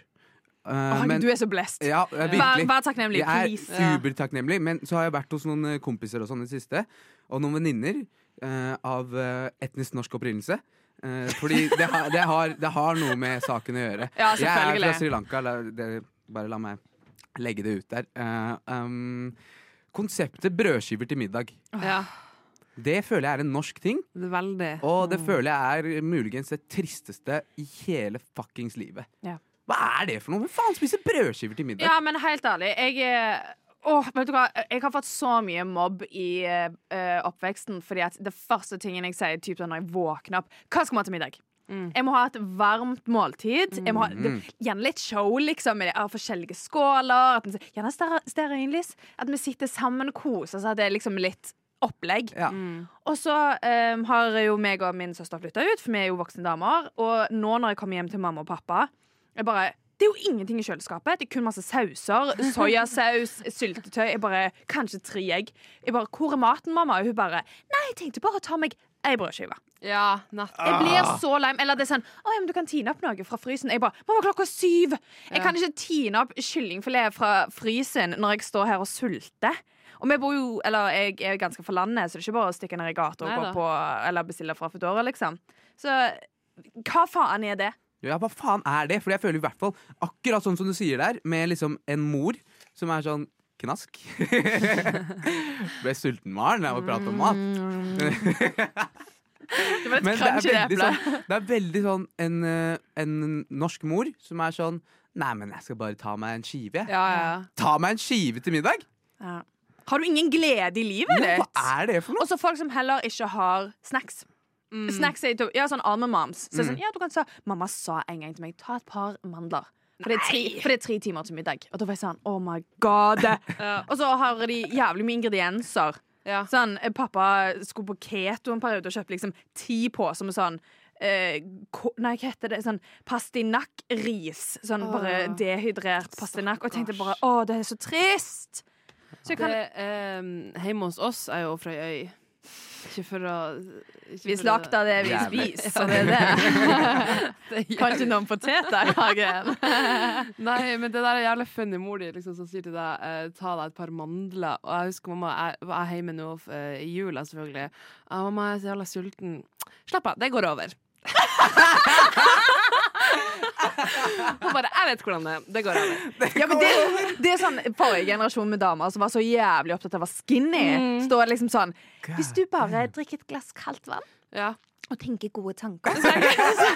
[SPEAKER 2] Eh,
[SPEAKER 5] Å, herregud,
[SPEAKER 2] men-
[SPEAKER 5] Du er så blessed.
[SPEAKER 2] ja, jeg er
[SPEAKER 5] Vær,
[SPEAKER 2] virkelig.
[SPEAKER 5] vær takknemlig,
[SPEAKER 2] Jeg er
[SPEAKER 5] please.
[SPEAKER 2] supertakknemlig. Men så har jeg vært hos noen eh, kompiser og sånn i det siste, og noen venninner eh, av eh, etnisk norsk opprinnelse. Eh, fordi det har, det, har, det har noe med saken å gjøre.
[SPEAKER 5] Ja,
[SPEAKER 2] jeg er fra
[SPEAKER 5] selvfølgelig.
[SPEAKER 2] Sri Lanka. La, det, bare la meg legge det ut der. Eh, um, konseptet brødskiver til middag.
[SPEAKER 4] Ja.
[SPEAKER 2] Det føler jeg er en norsk ting,
[SPEAKER 4] Det er veldig.
[SPEAKER 2] og det føler jeg er muligens det tristeste i hele fuckings livet.
[SPEAKER 5] Ja.
[SPEAKER 2] Hva er det for noe? Hvem faen spiser brødskiver til middag?
[SPEAKER 5] Ja, men helt ærlig, jeg eh, Åh, vet du hva? Jeg har fått så mye mobb i eh, eh, oppveksten fordi at det første tingen jeg sier typ sånn når jeg våkner opp Hva skal vi ha til middag? Jeg må ha et varmt måltid. Jeg må ha, det,
[SPEAKER 2] Mm.
[SPEAKER 5] gjerne litt show, liksom. Med av forskjellige skåler. At vi, gjerne større større øyenlys. At vi sitter sammen og koser oss. At det er liksom litt opplegg.
[SPEAKER 2] Ja.
[SPEAKER 5] Og så ehm, har jo meg og min søster flytta ut, for vi er jo voksne damer. Og nå når jeg kommer hjem til mamma og pappa jeg bare, Det er jo ingenting i kjøleskapet. Det er kun masse sauser. Soyasaus, syltetøy. Jeg bare, Kanskje tre egg. Jeg bare, 'Hvor er maten, mamma?' Og hun bare 'Nei, jeg tenkte bare å ta meg ei brødskive'.
[SPEAKER 4] Ja, natt.
[SPEAKER 2] Ah.
[SPEAKER 5] Jeg blir så lei meg. Eller det er sånn 'Å ja, men du kan tine opp noe fra frysen'. Jeg bare 'Mamma, klokka er syv!' Jeg kan ikke tine opp kyllingfilet fra frysen når jeg står her og sulter. Og vi bor jo, eller jeg er jo ganske for landet, så det er ikke bare å stikke ned i gata og gå
[SPEAKER 4] Neida.
[SPEAKER 5] på, eller bestille fra Foodora, liksom. Så hva faen er det?
[SPEAKER 2] Ja, hva faen er det? Fordi jeg føler i hvert fall akkurat sånn som du sier der, med liksom en mor som er sånn knask. [LAUGHS] Ble sulten, Maren, av å prate om mat.
[SPEAKER 5] Det var et
[SPEAKER 2] Men det er
[SPEAKER 5] crunch i det
[SPEAKER 2] veldig
[SPEAKER 5] eplet.
[SPEAKER 2] sånn, det er veldig sånn en, eh, en norsk mor som er sånn Nei, men jeg skal bare ta meg en skive. jeg.
[SPEAKER 4] Ja, ja.
[SPEAKER 2] Ta meg en skive til middag?
[SPEAKER 5] Ja. Har du ingen glede i livet
[SPEAKER 2] Hva
[SPEAKER 5] ditt?
[SPEAKER 2] er det for noe?
[SPEAKER 5] Og så folk som heller ikke har snacks. Snacks er jo- ja, sånn arme moms. Så det er
[SPEAKER 2] Mm.
[SPEAKER 5] sånn, ja, du kan sa, Mamma sa en gang til meg ta et par mandler. For det, er tre, for det er tre timer til middag. Og da var jeg sånn oh my god. Og så har de jævlig mye ingredienser.
[SPEAKER 4] Ja.
[SPEAKER 5] Sånn, eh, Pappa skulle på keto en periode og kjøpte liksom ti poser med sånn eh, ko- nei, hva heter det? Sånn pastinakkris. Sånn bare
[SPEAKER 4] Åh.
[SPEAKER 5] dehydrert pastinakk. Og jeg tenkte bare å, det er så trist! Så jeg kan
[SPEAKER 4] Det, ehm, hjemme hos oss er jo fra ei øy. Ikke for å ikke
[SPEAKER 5] Vi
[SPEAKER 4] for å-
[SPEAKER 5] slakta det vi
[SPEAKER 2] Jævlig.
[SPEAKER 5] spiser, så det er det.
[SPEAKER 4] [LAUGHS] Det gjør-
[SPEAKER 5] Kanskje noen [LAUGHS] poteter i hagen.
[SPEAKER 4] [LAUGHS] Nei, men det der er jævlig funny mor di liksom, som sier til deg eh, ta deg et par mandler. Og jeg husker mamma jeg jeg er hjemme nå eh, i jula, selvfølgelig. Ja, mamma jeg er så jævla sulten. Slapp av, det går over. Hun bare Jeg vet hvordan det er. Det går over.
[SPEAKER 5] Ja, men det, det er sånn Forrige generasjon med damer som var så jævlig opptatt av å være skinny, står det liksom sånn Hvis du bare drikker et glass kaldt vann
[SPEAKER 4] Ja.
[SPEAKER 5] og tenker gode [LAUGHS] tanker, så, så,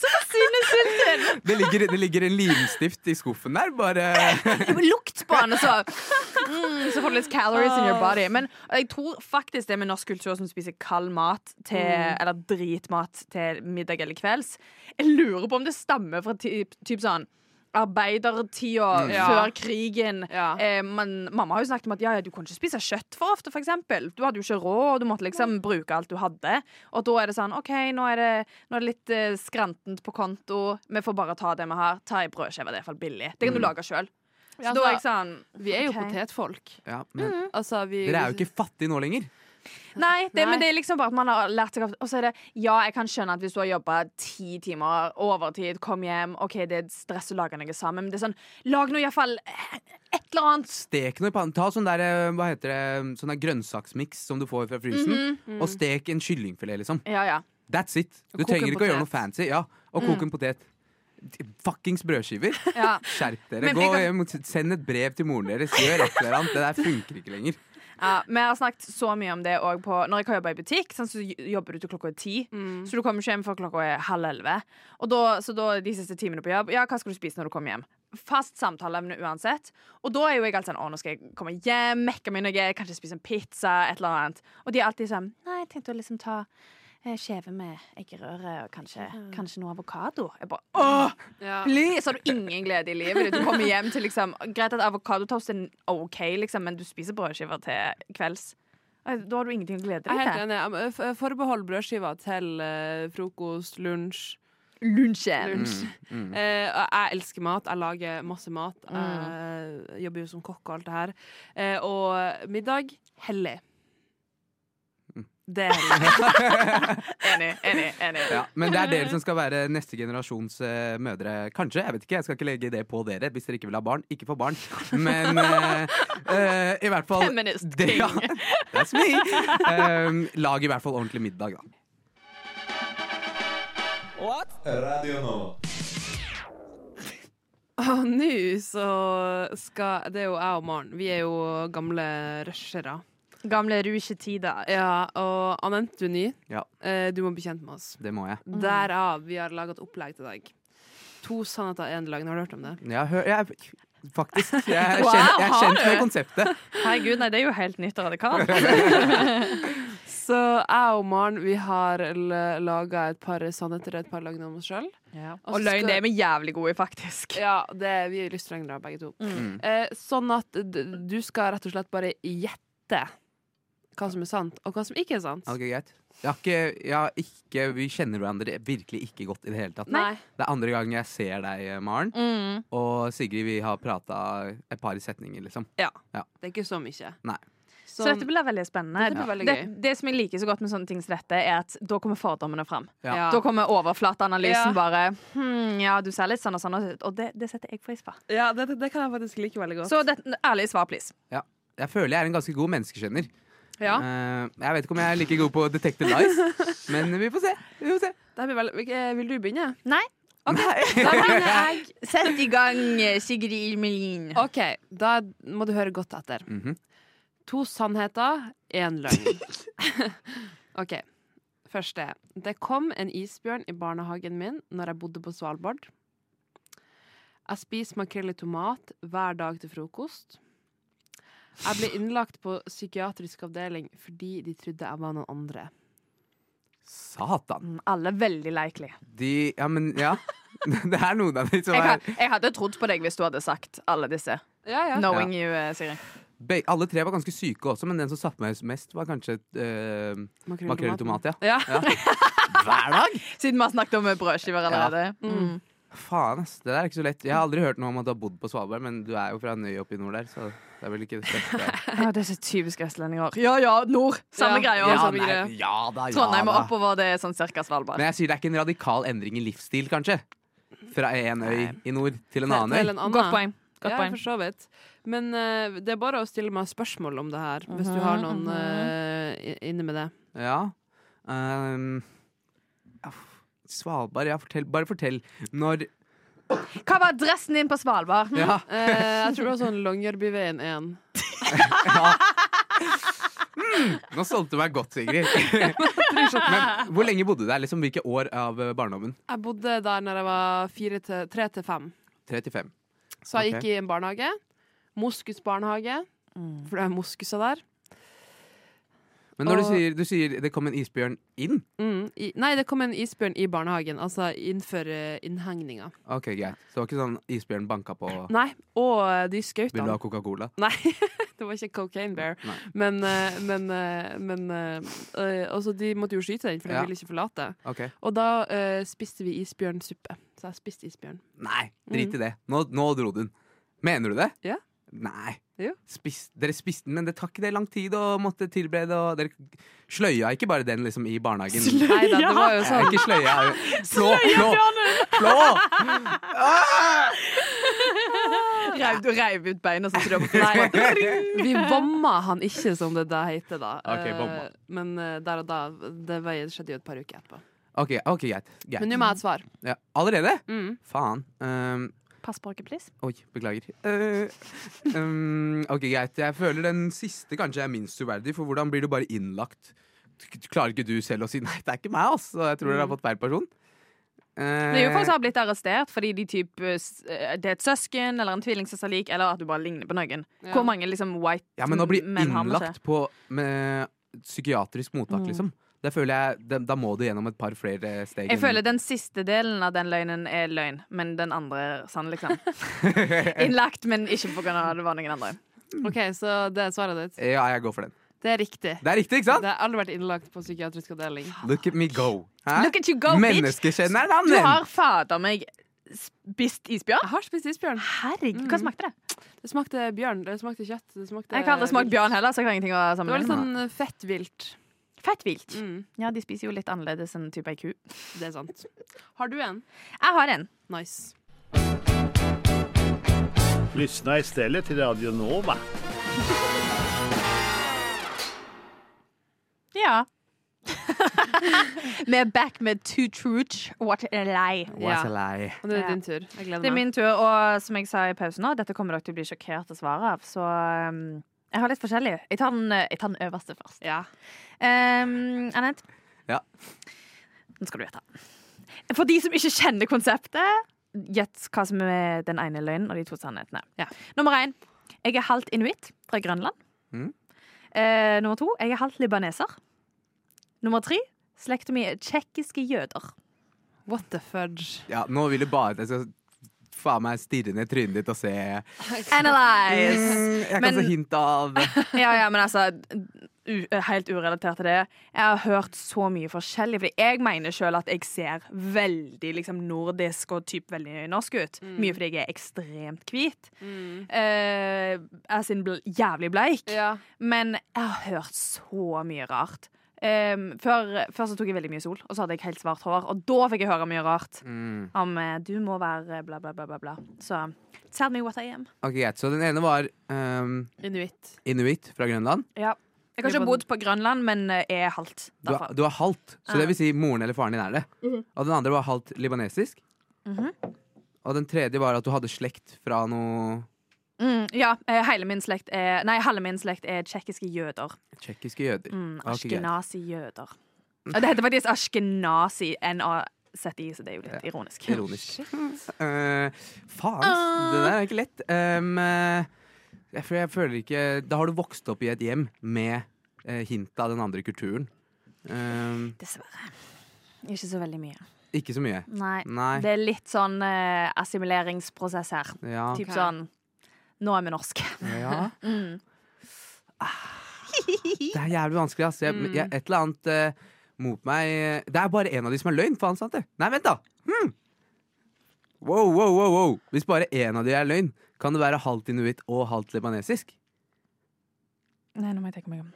[SPEAKER 5] så forsvinner sulten.
[SPEAKER 2] Det ligger, det ligger en limstift i skuffen der, bare
[SPEAKER 5] Lukt på den, og så mm, Så får du litt calories in your body. Men jeg tror faktisk det med norsk kultur som spiser kald mat til, eller dritmat til middag eller kvelds Jeg lurer på om det stammer fra typ, typ sånn Arbeidertida før krigen.
[SPEAKER 4] Ja.
[SPEAKER 5] Eh, men mamma har jo snakket om at ja, ja, du kunne ikke spise kjøtt for ofte. For eksempel. du hadde jo ikke råd, og du måtte liksom bruke alt du hadde. Og da er det sånn OK, nå er det, nå er det litt eh, skrantent på konto. Vi får bare ta det vi har. Ta ei brødskive, det er iallfall billig. Det kan du lage sjøl. Så
[SPEAKER 4] Ja,
[SPEAKER 5] da er jeg
[SPEAKER 4] altså,
[SPEAKER 5] sånn
[SPEAKER 4] vi er jo
[SPEAKER 5] ok.
[SPEAKER 4] potetfolk.
[SPEAKER 2] ja, men
[SPEAKER 4] Altså, vi
[SPEAKER 2] Dere er jo ikke fattige nå lenger.
[SPEAKER 5] Nei, det,
[SPEAKER 4] Nei.
[SPEAKER 5] men det er liksom bare at man har lært seg av Og så er det Ja, jeg kan skjønne at hvis du har jobba ti timer overtid, kom hjem, OK, det er stress å lage noe sammen, men det er sånn Lag nå iallfall et eller annet.
[SPEAKER 2] Stek noe i pannen. Ta sånn der, eh, hva heter det, sånn der grønnsaksmiks som du får fra frysen, og stek en kyllingfilet, liksom.
[SPEAKER 5] Ja, ja.
[SPEAKER 2] That's it. Du
[SPEAKER 4] koke
[SPEAKER 2] trenger
[SPEAKER 4] en
[SPEAKER 2] ikke å gjøre noe
[SPEAKER 4] potet.
[SPEAKER 2] fancy. Ja, og koke en potet. D- Fuckings brødskiver.
[SPEAKER 5] ja.
[SPEAKER 2] Skjerp dere.
[SPEAKER 5] Men
[SPEAKER 2] Gå
[SPEAKER 5] jeg kan-
[SPEAKER 2] hjem og s- Send et brev til moren deres. Gjør et eller annet. Det der funker ikke lenger.
[SPEAKER 5] Ja, vi har snakket så mye om det òg på Når jeg har jobba i butikk, sant, så j- jobber du til klokka er ti. Så du kommer ikke hjem før klokka er halv elleve. Og da, så da er de siste timene på jobb Ja, hva skal du spise når du kommer hjem? Fast samtaleemne uansett. Og da er jo jeg alltid sånn Å, nå skal jeg komme hjem, mekke meg noe, kanskje spise en pizza, et eller annet. Og de er alltid sånn Nei, jeg tenkte å liksom ta eh, Skjeve med eggerøre og kanskje, kanskje noe avokado. Jeg bare åh!
[SPEAKER 4] Ja.
[SPEAKER 5] Please! Har du ingen glede i livet ditt? Du kommer hjem til liksom Greit at avokadotoast er OK, liksom, men du spiser brødskiver til kvelds. Eh, Da har du ingenting å glede
[SPEAKER 4] Jeg er
[SPEAKER 5] deg
[SPEAKER 4] helt
[SPEAKER 5] til.
[SPEAKER 4] enig. Jeg må- eh, f- Forbehold brødskiva til eh, frokost, lunsj.
[SPEAKER 2] Mm,
[SPEAKER 5] Lunsjen.
[SPEAKER 4] lunsj. Eh, og jeg elsker mat. Jeg lager masse mat.
[SPEAKER 5] Mm.
[SPEAKER 4] Jeg jobber jo som kokk og alt det her. Eh, og middag hellig. Det er hellig.
[SPEAKER 5] [LAUGHS] Enig, enig, enig.
[SPEAKER 2] Ja, men det er dere som skal være neste generasjons eh, mødre. Kanskje, jeg vet ikke. Jeg skal ikke legge det på dere hvis dere ikke vil ha barn. Ikke få barn. Men eh, eh, i hvert fall
[SPEAKER 5] Feminist
[SPEAKER 2] det, ja.
[SPEAKER 5] king.
[SPEAKER 2] [LAUGHS] That's me. Um, lag i hvert fall ordentlig middag, da.
[SPEAKER 8] Radio Nova.
[SPEAKER 4] og nå så skal Det er jo jeg og Maren. Vi er jo gamle rushere.
[SPEAKER 5] Gamle rusjetider.
[SPEAKER 4] Ja, og Anette, du er ny.
[SPEAKER 2] Ja,
[SPEAKER 4] Eh, du må bli kjent med oss.
[SPEAKER 2] det må jeg.
[SPEAKER 5] Mm.
[SPEAKER 4] Derav vi har laga et opplegg til deg. To sannheter, én løgn. Har du hørt om det?
[SPEAKER 2] Jeg hø jeg, faktisk. Jeg er
[SPEAKER 5] Wow,
[SPEAKER 2] kjent, jeg er
[SPEAKER 5] har
[SPEAKER 2] kjent med
[SPEAKER 5] du?
[SPEAKER 2] konseptet.
[SPEAKER 5] Herregud, nei, det er jo helt nytt og radikalt.
[SPEAKER 4] Så jeg og Maren vi har laga et par sannheter og et par løgner om oss sjøl.
[SPEAKER 5] Og løgn, det er vi jævlig gode i,
[SPEAKER 4] [LAUGHS]
[SPEAKER 5] faktisk.
[SPEAKER 4] Ja, det, vi er jo lyststrengere begge to.
[SPEAKER 2] Mm.
[SPEAKER 4] Eh, sånn at d- du skal rett og slett bare gjette hva som er sant, og hva som ikke er sant.
[SPEAKER 2] Ok, greit. Jeg har ikke, jeg har ikke, vi kjenner hverandre virkelig ikke godt i det hele tatt.
[SPEAKER 4] Nei.
[SPEAKER 2] Det er andre gang jeg ser deg, eh, Maren.
[SPEAKER 5] Mm.
[SPEAKER 2] Og Sigrid, vi har prata et par setninger, liksom.
[SPEAKER 4] Det er ikke så mye.
[SPEAKER 2] Nei.
[SPEAKER 5] Så dette blir veldig spennende.
[SPEAKER 4] Dette blir veldig
[SPEAKER 5] det, det som jeg liker så godt med sånne ting som dette, er at da kommer fordommene fram.
[SPEAKER 2] Ja.
[SPEAKER 4] Ja.
[SPEAKER 5] Da kommer overflateanalysen
[SPEAKER 4] Ja.
[SPEAKER 5] bare. Hm, ja, du ser litt sånn og sånn ut. Og det, det setter jeg pris på.
[SPEAKER 4] ja, det, det kan jeg faktisk like veldig godt.
[SPEAKER 5] Så det, ærlig svar, please.
[SPEAKER 2] Ja. Jeg føler jeg er en ganske god menneskeskjønner.
[SPEAKER 4] Ja.
[SPEAKER 2] Eh, jeg vet ikke om jeg er like god på Detective Lies, men vi får se. Vi får se.
[SPEAKER 4] det blir veldig, eh, vil du begynne?
[SPEAKER 5] Nei.
[SPEAKER 4] Da begynner jeg.
[SPEAKER 5] Sett i gang, eh, Sigrid Melin.
[SPEAKER 4] OK, da må du høre godt etter.
[SPEAKER 2] Mhm.
[SPEAKER 4] To sannheter, én løgn. [LAUGHS] OK. Første. Det kom en isbjørn i barnehagen min når jeg bodde på Svalbard. Jeg spiser makrell i tomat hver dag til frokost. Jeg ble innlagt på psykiatrisk avdeling fordi de trodde jeg var noen andre.
[SPEAKER 2] Satan.
[SPEAKER 5] Alle veldig likely.
[SPEAKER 2] De Ja, men ja. [LAUGHS] Det er noen av de som
[SPEAKER 5] Jeg,
[SPEAKER 2] er
[SPEAKER 5] ha- jeg hadde trodd på deg hvis du hadde sagt alle disse.
[SPEAKER 4] Ja, ja.
[SPEAKER 5] Knowing you, eh, Sigrid.
[SPEAKER 2] Be- Alle tre var ganske syke også, men den som satte meg mest, var kanskje eh,
[SPEAKER 4] Makrell i
[SPEAKER 2] makrell i tomat.
[SPEAKER 4] tomaten.
[SPEAKER 2] Ja.
[SPEAKER 4] Ja.
[SPEAKER 2] Hver dag?
[SPEAKER 5] Siden vi har snakket om eh, brødskiver allerede. Mm.
[SPEAKER 2] Faen, ass. Det der er ikke så lett. Jeg har aldri hørt noe om at du har bodd på Svalbard, men du er jo fra Nøy oppe i nord der, så det er vel ikke det beste.
[SPEAKER 5] Å, det er så typisk vestlendinger. Ja ja, nord. Samme
[SPEAKER 4] Ja.
[SPEAKER 5] greia.
[SPEAKER 4] Ja,
[SPEAKER 5] Samme
[SPEAKER 4] nei.
[SPEAKER 5] greia.
[SPEAKER 2] nei, ja da, ja
[SPEAKER 5] sånn Trondheim og
[SPEAKER 2] da.
[SPEAKER 5] oppover, det er sånn cirka Svalbard.
[SPEAKER 2] Men jeg sier det er ikke en radikal endring i livsstil, kanskje. Fra en øy i nord til en
[SPEAKER 4] Til- til
[SPEAKER 2] annen øy.
[SPEAKER 4] en annen.
[SPEAKER 5] Godt poeng. Godt
[SPEAKER 4] ja,
[SPEAKER 5] poeng.
[SPEAKER 4] for så vidt. Men eh, det er bare å stille meg spørsmål om det her, hvis du har noen eh, i- inne med det.
[SPEAKER 2] Ja. Ehm, ja, f- Svalbard, ja. Fortell, bare fortell. Når
[SPEAKER 5] Hva var adressen din på Svalbard? Hm?
[SPEAKER 2] Ja.
[SPEAKER 4] Eh, jeg tror det var sånn Longyearbyveien 1.
[SPEAKER 2] Nå solgte du meg godt, Sigrid. [LAUGHS] Men hvor lenge bodde du der? Liksom, hvilke år av eh, barndommen?
[SPEAKER 4] Jeg bodde der når jeg var fire til, tre til fem.
[SPEAKER 2] 35.
[SPEAKER 4] Så jeg
[SPEAKER 2] Ok.
[SPEAKER 4] gikk i en barnehage. Moskus barnehage.
[SPEAKER 5] Mm.
[SPEAKER 4] For det er moskuser der.
[SPEAKER 2] Men når du
[SPEAKER 4] Og-
[SPEAKER 2] sier, du sier det kom en isbjørn inn
[SPEAKER 4] Mm. I, nei, det kom en isbjørn i barnehagen, altså innenfor eh, innhegninga.
[SPEAKER 2] Ok, greit. Så det var ikke sånn isbjørn banka på
[SPEAKER 4] Nei, og eh, de skjøt
[SPEAKER 2] Vil du
[SPEAKER 4] han.
[SPEAKER 2] ha Coca-Cola?
[SPEAKER 4] Nei, [LAUGHS] det var ikke Cocaine Bear.
[SPEAKER 2] Nei.
[SPEAKER 4] Men, eh, men, eh, men eh, eh, altså, de måtte jo skyte den, for de
[SPEAKER 2] Ja.
[SPEAKER 4] ville ikke forlate.
[SPEAKER 2] Ok.
[SPEAKER 4] Og da eh, spiste vi isbjørnsuppe. Så jeg spiste
[SPEAKER 5] [LAUGHS]
[SPEAKER 4] isbjørn.
[SPEAKER 2] Nei, drit i det. Nå, nå dro du den. Mener du det?
[SPEAKER 4] Mm. Ja.
[SPEAKER 2] Nei.
[SPEAKER 4] Jo.
[SPEAKER 2] Spis, dere spiste den, men det tar ikke det lang tid å måtte tilberede. Og dere sløya ikke bare den liksom i barnehagen.
[SPEAKER 4] Nei da, det var jo
[SPEAKER 2] Jeg er
[SPEAKER 5] [LAUGHS]
[SPEAKER 4] sånn.
[SPEAKER 2] ikke sløya. eh,
[SPEAKER 4] [LAUGHS]
[SPEAKER 2] Slå! Slå! slå.
[SPEAKER 5] Reiv, du reiv ut beina sånn som du har på Facebook.
[SPEAKER 4] Vi bomma han ikke, som det der heter, da.
[SPEAKER 2] Ok,
[SPEAKER 4] Eh,
[SPEAKER 2] bomma.
[SPEAKER 4] men eh, der og da Det var- det skjedde jo et par uker etterpå.
[SPEAKER 2] Ok, ok, greit. greit.
[SPEAKER 4] Men nå må jeg ha et svar.
[SPEAKER 2] ja, allerede?
[SPEAKER 4] Mm.
[SPEAKER 2] Faen. Um,
[SPEAKER 5] Pass på dere, please.
[SPEAKER 2] Oi, beklager. Eh, ehm, ok, greit. Jeg føler den siste kanskje er minst uverdig, for hvordan blir du bare innlagt? K- Klarer ikke du selv å si 'nei, det er ikke meg', ass? Og jeg tror dere har fått feil person. Eh,
[SPEAKER 5] Mm. Det er jo folk som har blitt arrestert fordi de typ, eh, s- eh, det er et søsken eller en tvillingsøsterlik, eller at du bare ligner på noen.
[SPEAKER 4] Ja.
[SPEAKER 5] Hvor mange liksom white
[SPEAKER 2] ja, men å bli
[SPEAKER 5] menn har med seg?
[SPEAKER 2] innlagt på med psykiatrisk mottak, liksom. Det føler jeg, da- Da må du gjennom et par flere steg.
[SPEAKER 5] Mm. Jeg
[SPEAKER 2] enn-
[SPEAKER 5] føler den siste delen av den løgnen er løgn, men den andre er sann, liksom. Innlagt, men ikke på grunn av det var noen andre. Mm.
[SPEAKER 4] OK, så det er svaret ditt.
[SPEAKER 2] Ja, jeg går for den.
[SPEAKER 4] Det er riktig.
[SPEAKER 2] Det er riktig, ikke
[SPEAKER 4] Det
[SPEAKER 2] sant?
[SPEAKER 4] har aldri vært innlagt på psykiatrisk avdeling.
[SPEAKER 2] Look at me go. Hæ?
[SPEAKER 5] Look at you go, bitch!
[SPEAKER 2] Menneskekjenneren,
[SPEAKER 5] Du
[SPEAKER 2] han!
[SPEAKER 5] har fader meg spist isbjørn?
[SPEAKER 4] Jeg har spist isbjørn.
[SPEAKER 5] Herregud, hva smakte det?
[SPEAKER 4] Det smakte bjørn. Det smakte kjøtt. Det smakte
[SPEAKER 5] Jeg har aldri smakt bjørn heller, så jeg har ingenting å
[SPEAKER 4] Det var litt
[SPEAKER 5] sammenligne med.
[SPEAKER 4] sånn fettvilt.
[SPEAKER 5] Fett vilt.
[SPEAKER 4] Mm,
[SPEAKER 5] Ja, de spiser jo litt annerledes enn type ei ku.
[SPEAKER 4] det er sant. Har du en?
[SPEAKER 5] Jeg har en.
[SPEAKER 4] Nice.
[SPEAKER 9] Lyssna istället till Radio Nova.
[SPEAKER 5] Ja. Vi er back [LAUGHS] med two truths, what a lie.
[SPEAKER 2] What's a lie?
[SPEAKER 4] Og nå er det
[SPEAKER 5] Ja.
[SPEAKER 4] din tur. Jeg gleder meg.
[SPEAKER 5] Det er min tur, og som jeg sa i pausen nå, dette kommer dere til å bli sjokkert å svare av, så um, jeg har litt forskjellig. Jeg tar den, eh, jeg tar den øverste først.
[SPEAKER 4] Ja.
[SPEAKER 5] Um, Anette?
[SPEAKER 2] Ja.
[SPEAKER 5] Nå skal du gjette. For de som ikke kjenner konseptet, gjett hva som er den ene løgnen og de to sannhetene.
[SPEAKER 4] Ja.
[SPEAKER 5] Nummer én. Jeg er halvt inuitt fra Grønland.
[SPEAKER 2] Mm.
[SPEAKER 5] Eh, nummer to. Jeg er halvt libaneser. Nummer tre. Slekta mi er tsjekkiske jøder.
[SPEAKER 4] What the fudge?
[SPEAKER 2] Ja, nå vil jeg bare at jeg skal faen meg stirre ned trynet ditt og se
[SPEAKER 5] Analyze!
[SPEAKER 2] Mm, jeg kan
[SPEAKER 5] Men-
[SPEAKER 2] få hint av
[SPEAKER 5] ja, ja, men altså u Helt urelatert til det. Jeg har hørt så mye forskjellig. Fordi jeg mener sjøl at jeg ser veldig liksom, nordisk og typ veldig norsk ut. Mye fordi jeg er ekstremt hvit. Eh, as in bl jævlig bleik.
[SPEAKER 4] Ja.
[SPEAKER 5] Men jeg har hørt så mye rart. Um, før, før så tok jeg veldig mye sol, og så hadde jeg helt svart hår. Og da fikk jeg høre mye rart
[SPEAKER 2] Mm.
[SPEAKER 5] om eh, du må være bla, bla, bla, bla. bla. Så tell me what I am.
[SPEAKER 2] Ok, greit. Så den ene var ehm,
[SPEAKER 4] Inuitt.
[SPEAKER 2] inuitt fra Grønland.
[SPEAKER 5] Jeg har ikke bodd på Grønland, men eh, er halvt
[SPEAKER 2] Du,
[SPEAKER 5] derfra.
[SPEAKER 2] du er halvt, så
[SPEAKER 5] Ja.
[SPEAKER 2] det vil si moren eller faren din er det.
[SPEAKER 5] Mhm.
[SPEAKER 2] Og den andre var halvt libanesisk. Og den tredje var at du hadde slekt fra noe
[SPEAKER 5] Mm, ja, eh, hele min slekt er Nei, halve min slekt er tsjekkiske jøder.
[SPEAKER 2] tsjekkiske jøder.
[SPEAKER 5] Mm,
[SPEAKER 2] Ok, greit.
[SPEAKER 5] Ashkenazi-jøder. Og det heter faktisk ashkenazi N-A-Z-I, så det er jo litt ironisk.
[SPEAKER 2] Ironisk. [LAUGHS] Eh, faen, ass. Det der er ikke lett. Ehm, eh, jeg, føler, jeg føler ikke Da har du vokst opp i et hjem med eh, hint av den andre kulturen. Ehm,
[SPEAKER 5] Dessverre. Ikke så veldig mye.
[SPEAKER 2] ikke så mye.
[SPEAKER 5] Nei.
[SPEAKER 2] Nei.
[SPEAKER 5] Det er litt sånn eh, assimileringsprosess her.
[SPEAKER 2] Ja.
[SPEAKER 5] Typ sånn Nå er vi norske.
[SPEAKER 2] Ja. Ah, Det er jævlig vanskelig, ass. Jeg, jeg, et eller annet eh, mot meg eh, Det er bare en av de som er løgn, faen sant det? Nei, vent da! Hmm. Wow, wow, wow, wow. Hvis bare én av de er løgn, kan det være halvt inuitt og halvt libanesisk?
[SPEAKER 5] Nei, nå må jeg tenke meg om.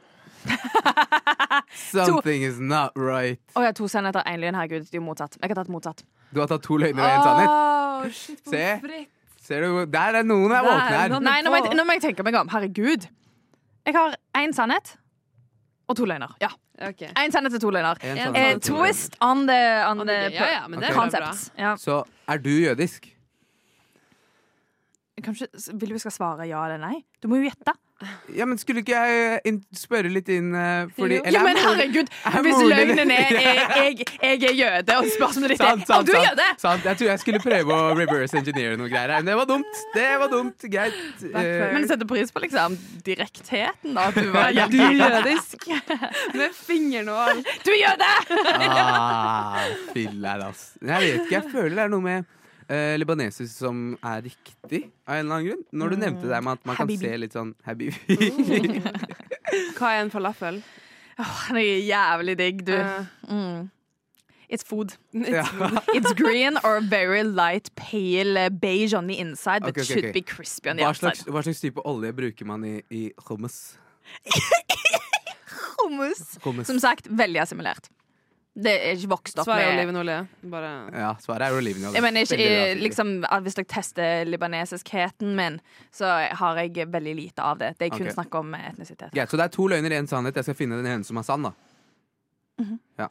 [SPEAKER 2] Something is not right.
[SPEAKER 5] Å ja, to sannheter, én løgn. Herregud, det er jo motsatt. Jeg har tatt motsatt.
[SPEAKER 2] Du har tatt to løgner og
[SPEAKER 5] Ah.
[SPEAKER 2] én sannhet.
[SPEAKER 4] Åh, shit,
[SPEAKER 2] Se.
[SPEAKER 4] pommes frites.
[SPEAKER 2] Ser du, Der er noen er
[SPEAKER 4] Der,
[SPEAKER 2] våkne her.
[SPEAKER 4] noen-
[SPEAKER 5] Nei, nå må, jeg, nå må jeg tenke meg om. Herregud. Jeg har én sannhet og to løgner. Ja.
[SPEAKER 4] Ok.
[SPEAKER 5] Én sannhet og to løgner.
[SPEAKER 2] En
[SPEAKER 4] Eh,
[SPEAKER 5] Eh,
[SPEAKER 2] sannhet og to løgner.
[SPEAKER 5] twist on the, on
[SPEAKER 4] On
[SPEAKER 5] the
[SPEAKER 4] the gay. Ja, ja, men det er
[SPEAKER 2] Ok.
[SPEAKER 4] jo bra.
[SPEAKER 5] concept. Ja.
[SPEAKER 2] Så er du jødisk?
[SPEAKER 5] Kanskje, vil du vi skal svare ja eller nei? Du må jo gjette.
[SPEAKER 2] Ja, men skulle ikke jeg eh, inn, spørre litt inn eh, fordi
[SPEAKER 5] Ja,
[SPEAKER 2] er
[SPEAKER 5] men
[SPEAKER 2] moren-
[SPEAKER 5] herregud,
[SPEAKER 2] er
[SPEAKER 5] hvis
[SPEAKER 2] moren din-
[SPEAKER 5] løgnen
[SPEAKER 2] [LAUGHS]
[SPEAKER 5] er jeg, jeg, jeg er jøde, og spørsmålet ditt er
[SPEAKER 2] Sant, sant,
[SPEAKER 5] Å, du er
[SPEAKER 2] sant,
[SPEAKER 5] jøde!
[SPEAKER 2] sant. Jeg tror jeg skulle prøve å reverse engineere noe greier her. Men det var dumt. Det var dumt. Greit. Eh,
[SPEAKER 5] Men setter pris på liksom direktheten, da. At du var
[SPEAKER 4] Du er
[SPEAKER 5] jødisk.
[SPEAKER 4] Med fingeren og alt.
[SPEAKER 5] [LAUGHS] Du er jøde!
[SPEAKER 2] [LAUGHS] ah, filler, ass. Jeg vet ikke. Jeg føler det er noe med eh, libaneser som er riktig, av en eller annen grunn. Når du nevnte det med at man kan
[SPEAKER 5] Mm. Habibi. Mm.
[SPEAKER 2] se litt sånn Habibi.
[SPEAKER 4] Hva er en falafel?
[SPEAKER 5] Han er jævlig digg, du.
[SPEAKER 4] Eh,
[SPEAKER 5] Mm. It's food.
[SPEAKER 2] [LAUGHS] ja.
[SPEAKER 5] It's green or very light pale uh, beige on the inside, but
[SPEAKER 2] Ok, ok,
[SPEAKER 5] should
[SPEAKER 2] ok.
[SPEAKER 5] be crispy on the
[SPEAKER 2] hva,
[SPEAKER 5] outside.
[SPEAKER 2] slags, hva slags type olje bruker man i, i hummus?
[SPEAKER 5] Hummus.
[SPEAKER 2] hummus?
[SPEAKER 5] Som sagt, veldig assimilert. Det er ikke vokst opp
[SPEAKER 4] Svar er
[SPEAKER 5] med
[SPEAKER 4] olivenolje. Bare
[SPEAKER 2] Ja, svaret er olivenolje.
[SPEAKER 5] jeg mener ikke,
[SPEAKER 2] Veldig
[SPEAKER 5] eh,
[SPEAKER 2] raskt.
[SPEAKER 5] liksom, at Hvis dere tester libanesiskheten min, så har jeg veldig lite av det. Det er kun
[SPEAKER 2] Ok.
[SPEAKER 5] snakk om eh, etnisitet.
[SPEAKER 2] Greit, så det er to løgner, én sannhet. Jeg skal finne den ene som er sann, da. Ja.
[SPEAKER 5] Mhm.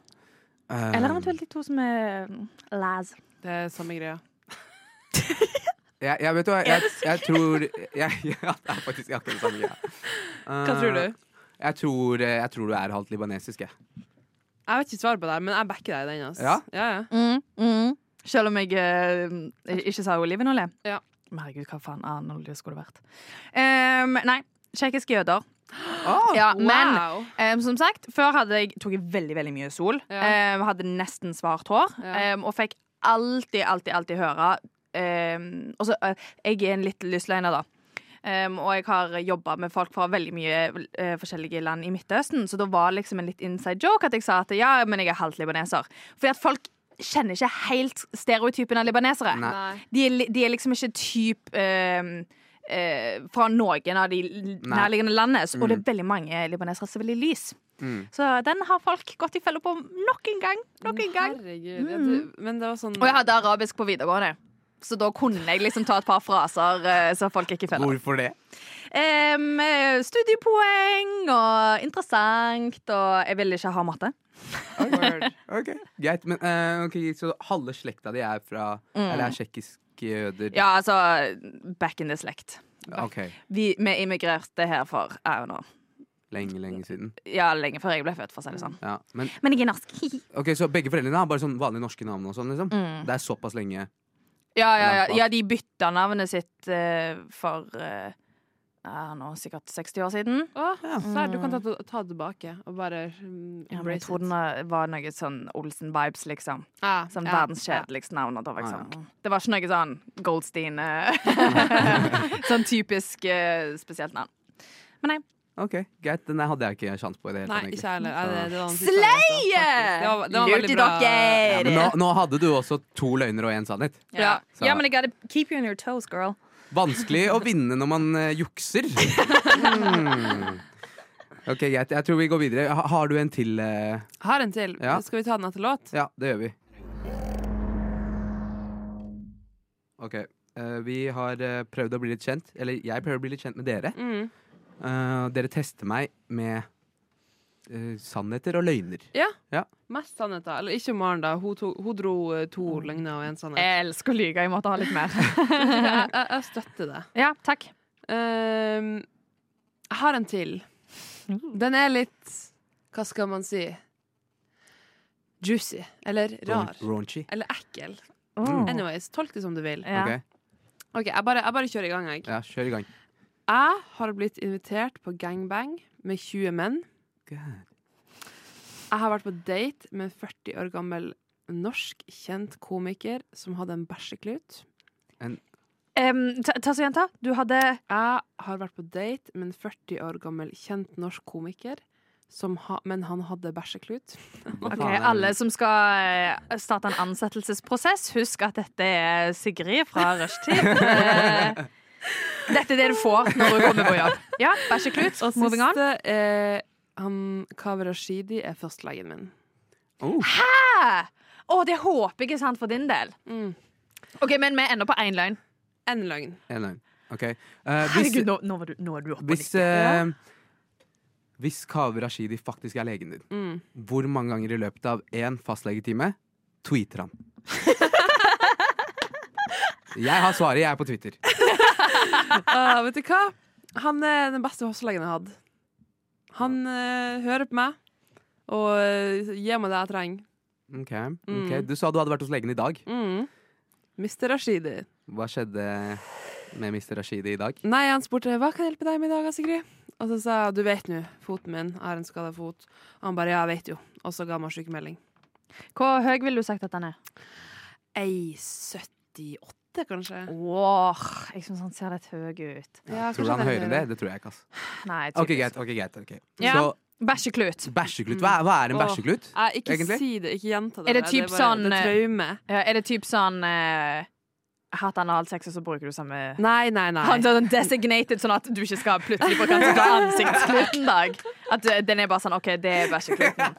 [SPEAKER 5] Eller
[SPEAKER 2] Eh,
[SPEAKER 5] eventuelt de to som er mm, las.
[SPEAKER 4] Det er samme greia.
[SPEAKER 2] Eh, Jeg, jeg vet jo, jeg, jeg, jeg tror jeg, [LAUGHS] ja, Det er faktisk akkurat det samme. Ja. Eh,
[SPEAKER 5] Hva tror du?
[SPEAKER 2] Jeg tror, eh, jeg tror du er halvt libanesisk, jeg.
[SPEAKER 4] Jeg vet ikke svaret på det, her, men jeg backer deg i den. Altså.
[SPEAKER 2] Ja?
[SPEAKER 4] Ja, ja.
[SPEAKER 5] Mm, mm. Selv om jeg eh, ikke sa olivenolje.
[SPEAKER 4] Ja.
[SPEAKER 5] Men Herregud, hva faen annen olje skulle det vært? Em, nei, tsjekkiske jøder. ja, men
[SPEAKER 4] Wow.
[SPEAKER 5] Em, som sagt, før hadde jeg, tok jeg veldig veldig mye sol.
[SPEAKER 4] Ja.
[SPEAKER 5] Em, hadde nesten svart hår.
[SPEAKER 4] Ja.
[SPEAKER 5] em, og fikk alltid, alltid, alltid høre em, Og så eh, Jeg er en litt lystløgner, da. Em, og jeg har jobba med folk fra veldig mye eh, forskjellige land i Midtøsten, så da var det liksom en litt inside joke at jeg sa at ja, men jeg er halvt libaneser. Fordi at folk kjenner ikke helt stereotypen av libanesere.
[SPEAKER 2] Nei.
[SPEAKER 5] De, er li- de er liksom ikke typ ehm, eh, fra noen av de l-
[SPEAKER 2] Nei.
[SPEAKER 5] nærliggende landene. så- Og det
[SPEAKER 2] Mm.
[SPEAKER 5] er veldig mange libanesere som er veldig lys.
[SPEAKER 2] Mm.
[SPEAKER 5] Så den har folk gått i felle på nok en gang. Nok en gang. Mm.
[SPEAKER 4] Herregud. Ja, det, men det var sånn
[SPEAKER 5] Og jeg hadde arabisk på videregående. Så da kunne jeg liksom ta et par fraser eh, så folk gikk i fella.
[SPEAKER 2] Hvorfor
[SPEAKER 5] [LAUGHS]
[SPEAKER 2] det?
[SPEAKER 5] Em, eh, studiepoeng og interessant og Jeg ville ikke ha matte.
[SPEAKER 4] Word.
[SPEAKER 2] Ok, Greit. Men eh, ok, så halve slekta di er fra Eller er tsjekkiske jøder?
[SPEAKER 5] Mm. Ja, altså back in the slekt.
[SPEAKER 2] Ok,
[SPEAKER 5] Vi, vi immigrerte her for I don't know,
[SPEAKER 2] Lenge, lenge siden.
[SPEAKER 5] ja, lenge før jeg ble født, for å si det sånn.
[SPEAKER 2] Ja. Men,
[SPEAKER 5] Men jeg er norsk. [LAUGHS]
[SPEAKER 2] ok, Så begge foreldrene har bare sånn vanlige norske navn? og sånn liksom
[SPEAKER 5] Mm.
[SPEAKER 2] Det er såpass lenge?
[SPEAKER 5] Ja, ja, ja.
[SPEAKER 2] Langt bak.
[SPEAKER 5] ja de bytta navnet sitt eh, for eh, ja, nå sikkert 60 år siden.
[SPEAKER 4] Å,
[SPEAKER 2] Ja.
[SPEAKER 4] Serr, du kan ta, ta det tilbake og bare mm,
[SPEAKER 5] Ja, men jeg
[SPEAKER 4] embrace
[SPEAKER 5] tror
[SPEAKER 4] it.
[SPEAKER 5] den eh, var noe sånn Olsen-vibes, liksom.
[SPEAKER 4] Ja,
[SPEAKER 5] Sånn
[SPEAKER 4] ja,
[SPEAKER 5] verdens kjedeligste navn. Og da var jeg
[SPEAKER 2] Ah, ja.
[SPEAKER 5] sånn. Det var ikke noe sånn Goldstein [LAUGHS] eh, Sånn typisk eh, spesielt navn.
[SPEAKER 2] Ok, Greit. Den der hadde jeg ikke sjans på. i det
[SPEAKER 4] ja.
[SPEAKER 2] hele
[SPEAKER 4] Nei,
[SPEAKER 2] tatt, egentlig.
[SPEAKER 4] ikke jeg heller. Nei, det- det var en fin
[SPEAKER 5] Slay!
[SPEAKER 4] sak, altså, faktisk. Det var, det var
[SPEAKER 5] Lurt
[SPEAKER 4] veldig
[SPEAKER 5] i
[SPEAKER 4] bra.
[SPEAKER 5] dere!
[SPEAKER 2] Men nå, nå hadde du også to løgner og én sannhet.
[SPEAKER 5] Ja.
[SPEAKER 2] Så-
[SPEAKER 5] men jeg gotta keep you on your toes, girl.
[SPEAKER 2] Vanskelig å vinne når man eh,
[SPEAKER 4] [LAUGHS]
[SPEAKER 2] jukser. Mm. Ok, Greit. Jeg tror vi går videre. Ha, har du en til? eh?
[SPEAKER 4] Har en til.
[SPEAKER 2] Ja.
[SPEAKER 4] Skal vi ta den etter låt?
[SPEAKER 2] Ja, det gjør vi. Ok. eh, vi har eh, prøvd å bli litt kjent. Eller jeg prøver å bli litt kjent med dere.
[SPEAKER 4] Mm.
[SPEAKER 2] Eh, dere tester meg med eh, sannheter og løgner.
[SPEAKER 4] Mest sannheter. Eller ikke om Maren, da. Hun, to, hun dro eh, to løgner og én sannhet.
[SPEAKER 5] [LAUGHS] Jeg elsker å lyge. Jeg måtte ha litt mer.
[SPEAKER 4] Jeg, jeg, jeg støtter det.
[SPEAKER 5] [LAUGHS] ja, takk.
[SPEAKER 4] Ehm, jeg har en til. Den er litt Hva skal man si? Juicy. Eller rar.
[SPEAKER 2] Raunchy.
[SPEAKER 4] Eller ekkel.
[SPEAKER 2] Mm.
[SPEAKER 4] Anyways, tolk det som du vil.
[SPEAKER 5] Oh. Ja.
[SPEAKER 2] Ok,
[SPEAKER 4] Ok, Jeg bare, jeg bare kjører i gang, jeg.
[SPEAKER 2] ja, kjør i gang.
[SPEAKER 4] Jeg har blitt invitert på gangbang med 20 menn. Jeg har vært på date med en 40 år gammel norsk kjent komiker som hadde en bæsjeklut.
[SPEAKER 5] Em, ta, ta så gjenta. Du hadde
[SPEAKER 4] Jeg har vært på date med en 40 år gammel kjent norsk komiker, som ha, men han hadde bæsjeklut.
[SPEAKER 5] Ok, Alle som skal eh, starte en ansettelsesprosess, husk at dette er Sigrid fra Rushtid. [LAUGHS] Eh, Dette er det du får når du kommer på jobb. Ja, Bæsjeklut.
[SPEAKER 4] Og
[SPEAKER 5] Moving on.
[SPEAKER 4] siste eh, han, Kaveh Rashidi er fastlegen min.
[SPEAKER 2] Oh,
[SPEAKER 5] Ah! Å, det håper jeg er sant for din del.
[SPEAKER 4] Mm.
[SPEAKER 5] Ok, Men vi ender på én løgn.
[SPEAKER 4] En løgn.
[SPEAKER 2] en løgn. Ok. eh, hvis
[SPEAKER 5] Herregud, nå, nå, var du, nå er du oppe.
[SPEAKER 2] hvis, eh, hvis Kaveh Rashidi faktisk er legen din,
[SPEAKER 4] Mm.
[SPEAKER 2] hvor mange ganger i løpet av én fastlegetime
[SPEAKER 4] [LAUGHS]
[SPEAKER 2] tweeter han? Jeg har svaret. Jeg er på Twitter.
[SPEAKER 4] [LAUGHS] Ah, vet du hva? Han er den beste fastlegen jeg har hatt. Han eh, hører på meg og eh, gir meg det jeg trenger.
[SPEAKER 2] Ok, ok. Du sa du hadde vært hos legen i dag.
[SPEAKER 4] Mm. Mr. Rashidi.
[SPEAKER 2] Hva skjedde med Mr. Rashidi i dag?
[SPEAKER 4] Nei, han spurte hva kan hjelpe deg med i dag, Sigrid. Og så sa jeg du vet nå, foten min er en skada fot. Og han bare ja, jeg vet jo. Og så ga han meg sykemelding.
[SPEAKER 5] Hvor høy ville du sagt at han er?
[SPEAKER 4] Ei 78, kanskje?
[SPEAKER 5] Wow, jeg syns han ser litt høy ut.
[SPEAKER 4] Ja, kanskje
[SPEAKER 2] tror du han
[SPEAKER 4] det er
[SPEAKER 2] hører det?
[SPEAKER 4] høyere.
[SPEAKER 2] Det tror jeg ikke. ass.
[SPEAKER 5] Nei,
[SPEAKER 2] Ok,
[SPEAKER 5] tydeligvis.
[SPEAKER 2] greit. ok, greit ok.
[SPEAKER 5] Ja. Bæsjeklut.
[SPEAKER 2] Så bæsjeklut. Hva, er- hva er en
[SPEAKER 4] Åh.
[SPEAKER 2] bæsjeklut?
[SPEAKER 4] Nei, ikke
[SPEAKER 2] Egentlig?
[SPEAKER 4] si det. Ikke gjenta det.
[SPEAKER 5] Er det
[SPEAKER 4] der.
[SPEAKER 5] typ
[SPEAKER 4] bare-
[SPEAKER 5] sånn,
[SPEAKER 4] Det er
[SPEAKER 5] eh,
[SPEAKER 4] traume.
[SPEAKER 5] Ja, er det typ sånn uh, Hatt analsex, og så bruker du samme
[SPEAKER 4] Nei, nei, nei.
[SPEAKER 5] [LAUGHS] Han er sånn designated, sånn at du ikke skal plutselig bruke den som ansiktskluten dag. At eh, den er bare sånn OK, det er bæsjekluten.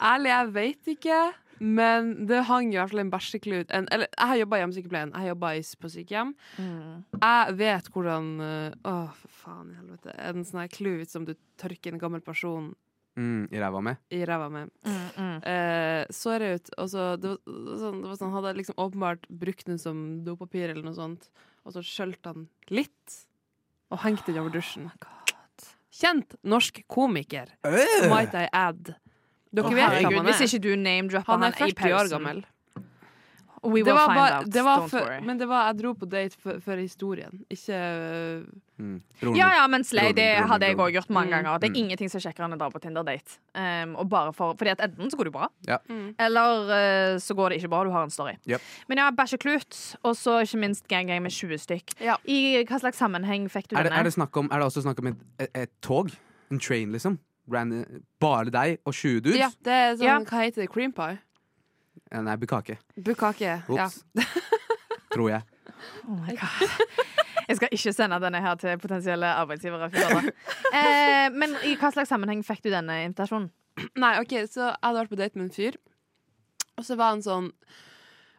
[SPEAKER 4] Ærlig, jeg vet ikke. Men det hang i hvert fall en bæsjeklut en, Eller, jeg har jobba i hjemmesykepleien. Jeg har jobba på sykehjem.
[SPEAKER 5] Mm.
[SPEAKER 4] Jeg vet eh, hvordan øh, Å, for faen i helvete. En sånn her klut som du tørker en gammel person
[SPEAKER 2] Mm, I ræva med.
[SPEAKER 4] i ræva med.
[SPEAKER 5] Mm,
[SPEAKER 4] Eh, så er det ut og så, det, var, det var sånn, det var sånn, Hadde jeg liksom åpenbart brukt den som dopapir eller noe sånt, og så skjølte han litt, og hengte den over
[SPEAKER 5] Oh
[SPEAKER 4] dusjen. Kjent norsk komiker,
[SPEAKER 2] Øh.
[SPEAKER 4] might I add. Dere vet hvem
[SPEAKER 5] Herregud,
[SPEAKER 4] han
[SPEAKER 5] hvis
[SPEAKER 4] er.
[SPEAKER 5] ikke du name-dropper
[SPEAKER 4] Han er
[SPEAKER 5] i
[SPEAKER 4] 40 år
[SPEAKER 5] pausen.
[SPEAKER 4] gammel.
[SPEAKER 5] We will
[SPEAKER 4] Det var
[SPEAKER 5] find
[SPEAKER 4] bare,
[SPEAKER 5] out,
[SPEAKER 4] det var
[SPEAKER 5] don't
[SPEAKER 4] for,
[SPEAKER 5] worry.
[SPEAKER 4] men det var, jeg dro på date før før historien, ikke øh,
[SPEAKER 2] Mm. Broren
[SPEAKER 5] Ja,
[SPEAKER 2] min.
[SPEAKER 5] ja, men Slay, det
[SPEAKER 2] Broren min,
[SPEAKER 5] hadde
[SPEAKER 2] broren
[SPEAKER 5] jeg
[SPEAKER 2] min.
[SPEAKER 5] òg gjort mange
[SPEAKER 4] Mm.
[SPEAKER 5] ganger. Det
[SPEAKER 2] Mm.
[SPEAKER 5] er ingenting som er kjekkere enn å dra på Tinder-date. Um, og bare for, fordi at enten så går det bra,
[SPEAKER 2] Ja.
[SPEAKER 4] Mm.
[SPEAKER 5] eller eh, så går det ikke bra. Du har en story.
[SPEAKER 2] Yep.
[SPEAKER 5] Men ja, bæsjeklut, og så ikke minst gang-gang med 20 stykk.
[SPEAKER 4] Ja.
[SPEAKER 5] I hva slags sammenheng fikk du
[SPEAKER 2] Er det,
[SPEAKER 5] denne?
[SPEAKER 2] er, det snakk om, er det også snakk om et, et, et tog? En train, liksom? Ran- bare deg og 20 dudes?
[SPEAKER 4] Ja, det er sånn,
[SPEAKER 5] Ja.
[SPEAKER 4] hva heter det? Cream pie?
[SPEAKER 2] Eh, Nei, bukkake.
[SPEAKER 4] Bukkake. Ja.
[SPEAKER 2] Ops. Tror jeg.
[SPEAKER 5] Oh my God. Jeg skal ikke sende denne her til potensielle arbeidsgivere. fy
[SPEAKER 4] [LAUGHS]
[SPEAKER 5] fader. Eh, men i hva slags sammenheng fikk du denne invitasjonen?
[SPEAKER 4] Nei, ok, så jeg hadde vært på date med en fyr Og så var han sånn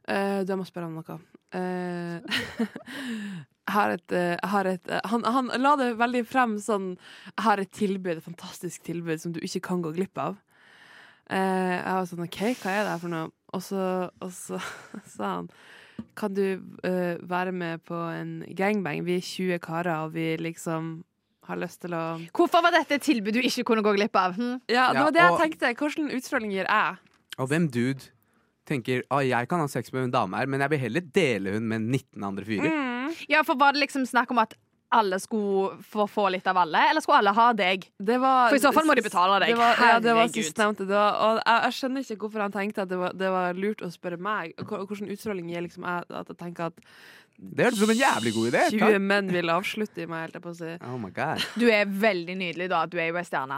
[SPEAKER 4] «Eh, Du, jeg må spørre om noe Eh, [LAUGHS] Jeg har et, eh, jeg har et eh, han, han la det veldig frem sånn Jeg har et tilbud, et fantastisk tilbud Som du ikke kan gå glipp av Eh, Jeg var sånn, ok, hva er det her for noe? Og så, og så [LAUGHS] sa han Kan du eh, være med på en gangbang? Vi er 20 karer, og vi liksom har lyst til å
[SPEAKER 5] Hvorfor var dette et tilbud du ikke kunne gå glipp av? Hm?
[SPEAKER 4] Ja, det
[SPEAKER 2] Ja,
[SPEAKER 4] var det jeg
[SPEAKER 2] og-
[SPEAKER 4] tenkte Hvordan utstråling gir jeg?
[SPEAKER 2] Og hvem dude tenker at jeg kan ha sex med en dame her, men jeg vil heller dele hun med 19 andre fyrer?
[SPEAKER 5] Ja, for Var det liksom snakk om at alle skulle få, få litt av alle, eller skulle alle ha deg?
[SPEAKER 4] Det var,
[SPEAKER 5] For i så fall må de betale deg.
[SPEAKER 4] Det var, ja, det var
[SPEAKER 5] Herregud.
[SPEAKER 4] sistnevnte. Det var, og jeg, jeg skjønner ikke hvorfor han tenkte at det var, det var lurt å spørre meg. Og hva- Hvordan utstråling gir liksom jeg, at jeg tenker at
[SPEAKER 2] Det høres ut som en jævlig god idé.
[SPEAKER 4] 20
[SPEAKER 2] Takk.
[SPEAKER 4] menn vil avslutte i meg, helt jeg på å si.
[SPEAKER 2] Oh my god.
[SPEAKER 5] Du er veldig nydelig, da. at Du er jo
[SPEAKER 4] [LAUGHS]
[SPEAKER 5] ei stjerne.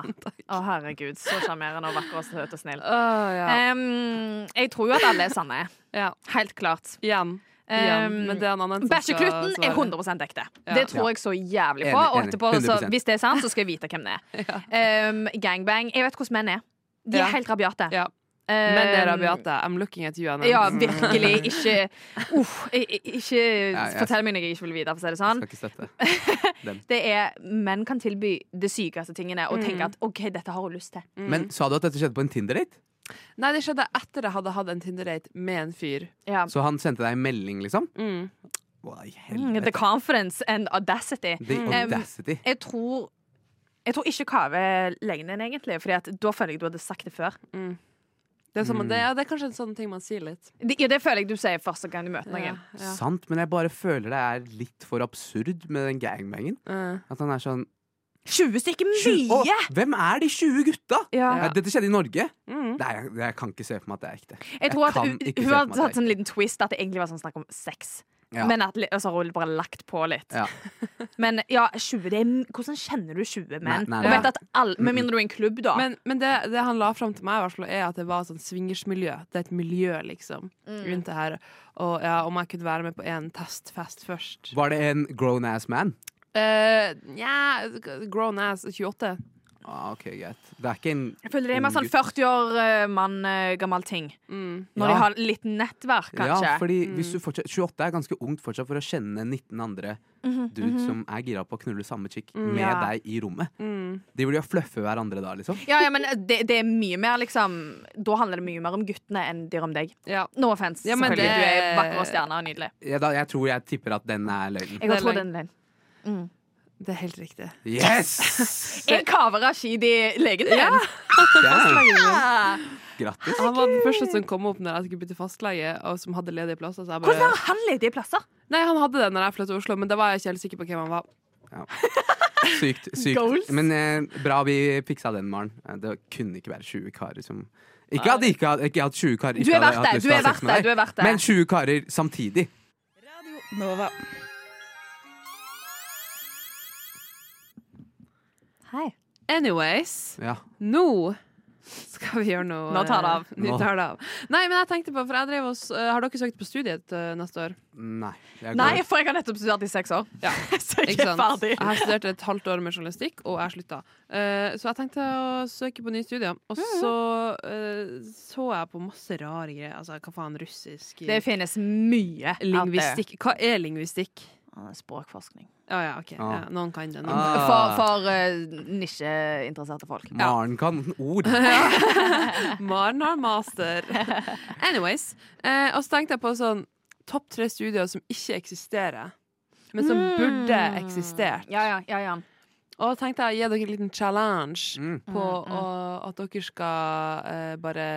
[SPEAKER 5] Å, herregud. Så sjarmerende og vakker og søt og snill.
[SPEAKER 4] Åh, ja.
[SPEAKER 5] Em, jeg tror jo at alle er sanne.
[SPEAKER 4] ja.
[SPEAKER 5] Helt klart.
[SPEAKER 4] Igjen.
[SPEAKER 5] Em,
[SPEAKER 4] Igjen. Men det er en annen som skal
[SPEAKER 5] Bæsjekluten er
[SPEAKER 4] svare.
[SPEAKER 5] 100 ekte.
[SPEAKER 4] Ja.
[SPEAKER 5] Det tror jeg så jævlig på.
[SPEAKER 2] Enig,
[SPEAKER 5] Og
[SPEAKER 2] enig.
[SPEAKER 5] etterpå, så,
[SPEAKER 2] 100%.
[SPEAKER 5] hvis det er sant, så skal jeg vite hvem
[SPEAKER 4] [LAUGHS]
[SPEAKER 5] det er. Em, gangbang. Jeg vet hvordan menn er. De er
[SPEAKER 4] Ja.
[SPEAKER 5] helt rabiate.
[SPEAKER 4] Ja.
[SPEAKER 5] Em,
[SPEAKER 4] Men det er rabiate. I'm looking at you, Anna.
[SPEAKER 5] Eh, Ja, virkelig. Ikke uff, i- i- Ikke
[SPEAKER 2] jeg-
[SPEAKER 5] fortell meg noe jeg ikke vil vite, for å si det sånn.
[SPEAKER 2] Skal ikke støtte.
[SPEAKER 5] Det er Menn kan tilby det sykeste tingene
[SPEAKER 4] Mm.
[SPEAKER 5] og tenke at OK, dette har hun lyst til.
[SPEAKER 2] Men sa du at dette skjedde på en Tinder-date?
[SPEAKER 4] Nei, det skjedde etter jeg hadde hatt en Tinder-date med en fyr.
[SPEAKER 5] Ja.
[SPEAKER 2] Så han sendte deg en melding, liksom?
[SPEAKER 4] Mm.
[SPEAKER 2] Hva i
[SPEAKER 5] Mm, The
[SPEAKER 2] helvete?
[SPEAKER 5] confidence and audacity.
[SPEAKER 2] The
[SPEAKER 5] Em,
[SPEAKER 2] audacity.
[SPEAKER 5] Jeg tror jeg tror ikke Kave legger den, egentlig. Fordi at da føler jeg du hadde sagt det før.
[SPEAKER 4] Det, er som,
[SPEAKER 2] Mm.
[SPEAKER 4] det, ja, det er kanskje en sånn ting man sier litt.
[SPEAKER 5] Det, ja, det føler jeg du sier første gang du møter
[SPEAKER 4] Ja,
[SPEAKER 5] noen.
[SPEAKER 4] ja.
[SPEAKER 2] Sant, men jeg bare føler det er litt for absurd med den gangbangen.
[SPEAKER 4] Eh.
[SPEAKER 2] At han er sånn
[SPEAKER 5] 20 stykker
[SPEAKER 2] «Tju- Å,
[SPEAKER 5] mye!
[SPEAKER 2] Hvem er de 20 gutta?!
[SPEAKER 5] Ja.
[SPEAKER 2] Nei, Dette skjedde i Norge.
[SPEAKER 4] Mm.
[SPEAKER 2] Nei, jeg, jeg kan ikke se for meg at det er ekte.
[SPEAKER 5] Jeg tror at
[SPEAKER 2] kan
[SPEAKER 5] hun,
[SPEAKER 2] ikke se
[SPEAKER 5] hun
[SPEAKER 2] for meg
[SPEAKER 5] hadde
[SPEAKER 2] at
[SPEAKER 5] hatt
[SPEAKER 2] det er
[SPEAKER 5] sånn liten twist at det egentlig var sånn snakk om sex.
[SPEAKER 2] Ja.
[SPEAKER 5] Men at li- altså, hun bare lagt på litt.
[SPEAKER 2] Ja.
[SPEAKER 5] [LAUGHS] Men ja, 20 det er, Hvordan kjenner du 20 menn?
[SPEAKER 2] nei,
[SPEAKER 5] Og
[SPEAKER 2] nei.
[SPEAKER 5] vet at alle- Med mindre du er i en klubb, da.
[SPEAKER 4] Men, men det, det han la fram til meg, i hvert fall, er at det var sånn swingersmiljø. Det er et miljø, liksom, rundt det her. Og ja, om jeg kunne være med på en testfest først.
[SPEAKER 2] Var det en grown ass man?
[SPEAKER 4] Eh, Nja, grown ass 28.
[SPEAKER 2] Ah, ok, greit. Det er ikke en
[SPEAKER 5] jeg føler det er mer
[SPEAKER 2] ung
[SPEAKER 5] sånn
[SPEAKER 2] gutt.
[SPEAKER 5] 40 år eh, mann eh, gammel ting. Når
[SPEAKER 2] Ja.
[SPEAKER 5] de har litt nettverk, kanskje. Mm.
[SPEAKER 2] Ja, fordi hvis du fortsatt, 28 er ganske ungt fortsatt for å kjenne 19 andre dudes som er gira på å knulle samme chick med
[SPEAKER 5] Mhm, Mm, Ja. Mm.
[SPEAKER 2] deg i rommet. De vil jo fluffe hverandre da, liksom.
[SPEAKER 5] Ja, ja, men det, det er mye mer liksom Da handler det mye mer om guttene enn det gjør om deg.
[SPEAKER 4] Ja.
[SPEAKER 5] No offense,
[SPEAKER 4] Ja, men
[SPEAKER 5] selvfølgelig.
[SPEAKER 4] det-
[SPEAKER 5] Du er vakker og stjerne og nydelig.
[SPEAKER 2] Jeg, da, jeg tror jeg tipper at den er løgnen.
[SPEAKER 5] Jeg
[SPEAKER 4] Det er
[SPEAKER 5] tror
[SPEAKER 4] løgn.
[SPEAKER 5] den er løgn.
[SPEAKER 4] Det er helt riktig.
[SPEAKER 5] [LAUGHS]
[SPEAKER 2] Yes!
[SPEAKER 5] Er Kaveh Rashidi legen din?
[SPEAKER 2] Damn.
[SPEAKER 5] Ja.
[SPEAKER 2] Grattis.
[SPEAKER 4] Han var den første som kom opp når jeg skulle bytte fastlege, og som hadde ledige plasser. Så jeg
[SPEAKER 5] Hvordan
[SPEAKER 4] bare
[SPEAKER 5] har han ledige plasser?
[SPEAKER 4] Nei, han hadde det når jeg flyttet til Oslo, men da var jeg ikke helt sikker på hvem han var.
[SPEAKER 2] Sykt. sykt.
[SPEAKER 5] Goals.
[SPEAKER 2] Men eh, bra vi fiksa den, Maren. Eh, Det kunne ikke være 20 karer som Ikke at de ikke hadde ikke hatt 20 karer
[SPEAKER 5] Du
[SPEAKER 2] ikke
[SPEAKER 5] er
[SPEAKER 2] hadde
[SPEAKER 5] verdt
[SPEAKER 2] hatt
[SPEAKER 5] det.
[SPEAKER 2] lyst
[SPEAKER 5] Du
[SPEAKER 2] til å
[SPEAKER 5] er
[SPEAKER 2] ha sex
[SPEAKER 5] verdt
[SPEAKER 2] med deg.
[SPEAKER 5] det. Du er verdt det.
[SPEAKER 2] Men 20 karer samtidig.
[SPEAKER 6] Nova.
[SPEAKER 5] Hei.
[SPEAKER 4] Anyways,
[SPEAKER 2] Ja.
[SPEAKER 4] nå skal vi gjøre noe
[SPEAKER 5] Nå tar det
[SPEAKER 4] [LAUGHS]
[SPEAKER 5] av.
[SPEAKER 4] Vi tar det av. Nei, men jeg tenkte på, for jeg drev oss Har dere søkt på studiet eh, neste år?
[SPEAKER 2] Nei. jeg
[SPEAKER 5] Nei,
[SPEAKER 2] går.
[SPEAKER 5] for jeg har nettopp studert i seks år.
[SPEAKER 4] Ja.
[SPEAKER 5] [LAUGHS] Så jeg
[SPEAKER 4] Ikke
[SPEAKER 5] er
[SPEAKER 4] sant? Ah,
[SPEAKER 5] ferdig.
[SPEAKER 4] Jeg har studert et halvt år med journalistikk, og jeg slutta. Eh, så jeg tenkte å søke på nye studier. Og
[SPEAKER 5] Mm.
[SPEAKER 4] så eh, så jeg på masse rare greier. Altså, hva faen, russisk
[SPEAKER 5] Det finnes mye. out there.
[SPEAKER 4] Lingvistikk. Hva er lingvistikk?
[SPEAKER 5] Ah, Språkforskning.
[SPEAKER 4] Ja, ja, ok.
[SPEAKER 2] Ah.
[SPEAKER 4] Ja, noen kan det. Noen.
[SPEAKER 5] For,
[SPEAKER 2] Ah,
[SPEAKER 5] for eh, nisjeinteresserte folk.
[SPEAKER 2] Maren kan
[SPEAKER 5] [LAUGHS]
[SPEAKER 2] ord.
[SPEAKER 4] Maren har master. Anyways. Eh, og så tenkte jeg på sånn topp tre studier som ikke eksisterer, men som burde
[SPEAKER 5] Mm.
[SPEAKER 4] eksistert.
[SPEAKER 5] Ja, ja, ja, ja.
[SPEAKER 4] Og tenkte jeg å gi dere en liten challenge
[SPEAKER 2] Mm.
[SPEAKER 4] på å, at dere skal eh, bare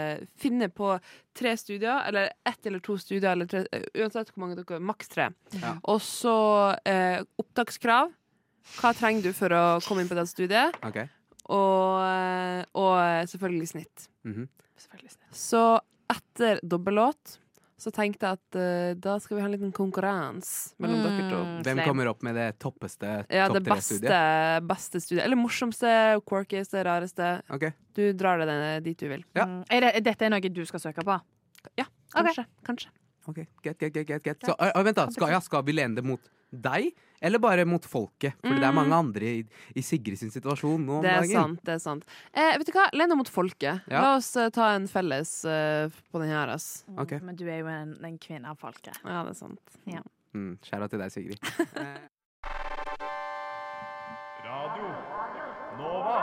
[SPEAKER 4] finne på tre studier, eller ett eller to studier, eller tre, eh, uansett hvor mange dere Maks tre.
[SPEAKER 2] Ja.
[SPEAKER 4] Og så eh, opptakskrav. Hva trenger du for å komme inn på det studiet?
[SPEAKER 2] Ok.
[SPEAKER 4] Og, eh, og selvfølgelig snitt.
[SPEAKER 2] Mhm.
[SPEAKER 5] Selvfølgelig.
[SPEAKER 4] Så etter dobbellåt så tenkte jeg at eh, da skal vi ha en liten konkurranse mellom dere to.
[SPEAKER 5] Mm,
[SPEAKER 2] Hvem
[SPEAKER 5] slay.
[SPEAKER 2] kommer opp med det toppeste
[SPEAKER 4] Ja,
[SPEAKER 2] topp
[SPEAKER 4] det
[SPEAKER 2] tre-studiet?
[SPEAKER 4] beste, beste studiet. Eller morsomste, quirkieste, rareste.
[SPEAKER 2] Ok.
[SPEAKER 4] Du drar det den- dit du vil.
[SPEAKER 2] Ja.
[SPEAKER 5] Mm. Er det, er dette er noe du skal søke på? Ok.
[SPEAKER 4] Kanskje. kanskje.
[SPEAKER 2] ok, Get, get, get, get, get. Så, ø, ø, vent da, skal, ja, skal vi lene det mot deg, eller bare mot folket? Fordi
[SPEAKER 5] Mm.
[SPEAKER 2] det er mange andre i, i Sigrid sin situasjon nå om
[SPEAKER 4] Det er
[SPEAKER 2] dagen.
[SPEAKER 4] sant. det er sant eh, Vet du hva, Len deg mot folket.
[SPEAKER 2] Ja.
[SPEAKER 4] La oss eh, ta en felles eh, på den her. Ass.
[SPEAKER 5] Mm,
[SPEAKER 2] Ok.
[SPEAKER 5] Men du er jo en, en kvinne av folket.
[SPEAKER 4] Ja, det er sant.
[SPEAKER 2] Mm, Skjæra til deg, Sigrid.
[SPEAKER 9] Radio Nova.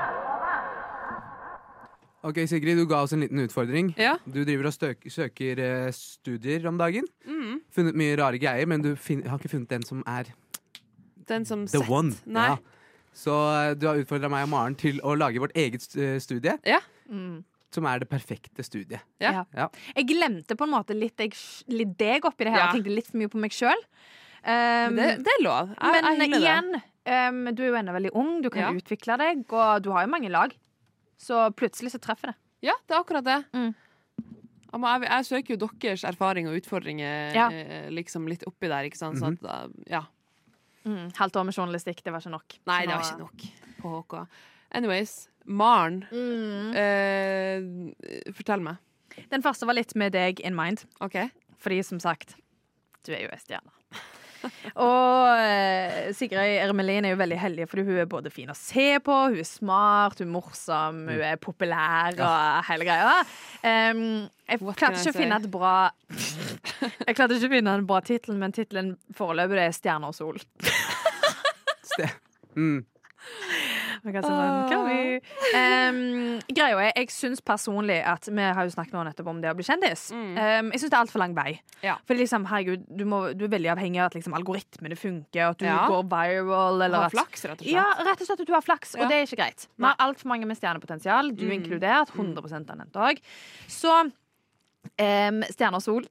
[SPEAKER 2] Ok, Sigrid, du ga oss en liten utfordring.
[SPEAKER 4] Ja.
[SPEAKER 2] Du driver og støk, søker eh, studier om dagen.
[SPEAKER 5] Mm.
[SPEAKER 2] Funnet mye rare greier, men du fin har ikke funnet den som er
[SPEAKER 4] Den som
[SPEAKER 2] the
[SPEAKER 4] sett.
[SPEAKER 2] one.
[SPEAKER 4] Nei.
[SPEAKER 2] Ja. Så eh, du har utfordra meg og Maren til å lage vårt eget st- eh, studie,
[SPEAKER 5] Mm.
[SPEAKER 2] som er det perfekte studiet.
[SPEAKER 4] Ja.
[SPEAKER 2] Ja.
[SPEAKER 5] Jeg glemte på en måte litt, jeg, litt deg oppi det her.
[SPEAKER 4] Ja.
[SPEAKER 5] Jeg tenkte litt for mye på meg sjøl.
[SPEAKER 4] Men Det, det er lov. Jeg,
[SPEAKER 5] men
[SPEAKER 4] jeg hyller det.
[SPEAKER 5] igjen, em, du er jo ennå veldig ung, du kan
[SPEAKER 4] Ja.
[SPEAKER 5] utvikle deg, og du har jo mange lag. Så plutselig så treffer det.
[SPEAKER 4] Ja, det er akkurat det.
[SPEAKER 5] Mm.
[SPEAKER 4] Ja, men Jeg, jeg søker jo deres erfaring og utfordringer
[SPEAKER 5] Ja.
[SPEAKER 4] eh, liksom litt oppi der, ikke sant.
[SPEAKER 2] Mhm.
[SPEAKER 4] Så at, da- ja.
[SPEAKER 5] Halvt år med journalistikk, det var ikke nok.
[SPEAKER 4] Nei,
[SPEAKER 5] Så
[SPEAKER 4] det
[SPEAKER 5] nå-
[SPEAKER 4] var ikke nok på HK. Anyways, Maren,
[SPEAKER 5] Mm.
[SPEAKER 4] eh, fortell meg.
[SPEAKER 5] Den første var litt med deg in mind,
[SPEAKER 4] OK?
[SPEAKER 5] fordi som sagt, du er jo ei stjerne. [LAUGHS] og eh, Sigrid Ermelin er jo veldig heldig, fordi hun er både fin å se på, hun er smart, hun er morsom, hun
[SPEAKER 4] Mm.
[SPEAKER 5] er populær og hele greia. Em, jeg
[SPEAKER 4] What
[SPEAKER 5] klarte
[SPEAKER 4] can
[SPEAKER 5] ikke
[SPEAKER 4] I
[SPEAKER 5] å finne
[SPEAKER 4] say?
[SPEAKER 5] et bra [LAUGHS] Jeg klarte ikke å finne en bra tittel, men tittelen foreløpig er 'Stjerner og sol'.
[SPEAKER 2] Ste- Mm.
[SPEAKER 5] Og jeg er sånn,
[SPEAKER 4] Åh.
[SPEAKER 5] kan vi?
[SPEAKER 4] Ah.
[SPEAKER 5] Em, greia er, jeg syns personlig at Vi har jo snakket nå nettopp om det å bli kjendis. Em, jeg syns det er altfor lang vei.
[SPEAKER 4] Mm. Ja.
[SPEAKER 5] For liksom, herregud, du, må, du er veldig avhengig av at liksom, algoritmene funker, og at du
[SPEAKER 4] Ja.
[SPEAKER 5] går viral. Eller
[SPEAKER 4] Ha
[SPEAKER 5] at,
[SPEAKER 4] flaks, rett og slett.
[SPEAKER 5] ja, rett og slett at du har flaks,
[SPEAKER 4] Ja. Mm.
[SPEAKER 5] og det er ikke greit. Vi har altfor mange med stjernepotensial, du inkludert. 100 av nevnte òg. Så um, Stjerner og sol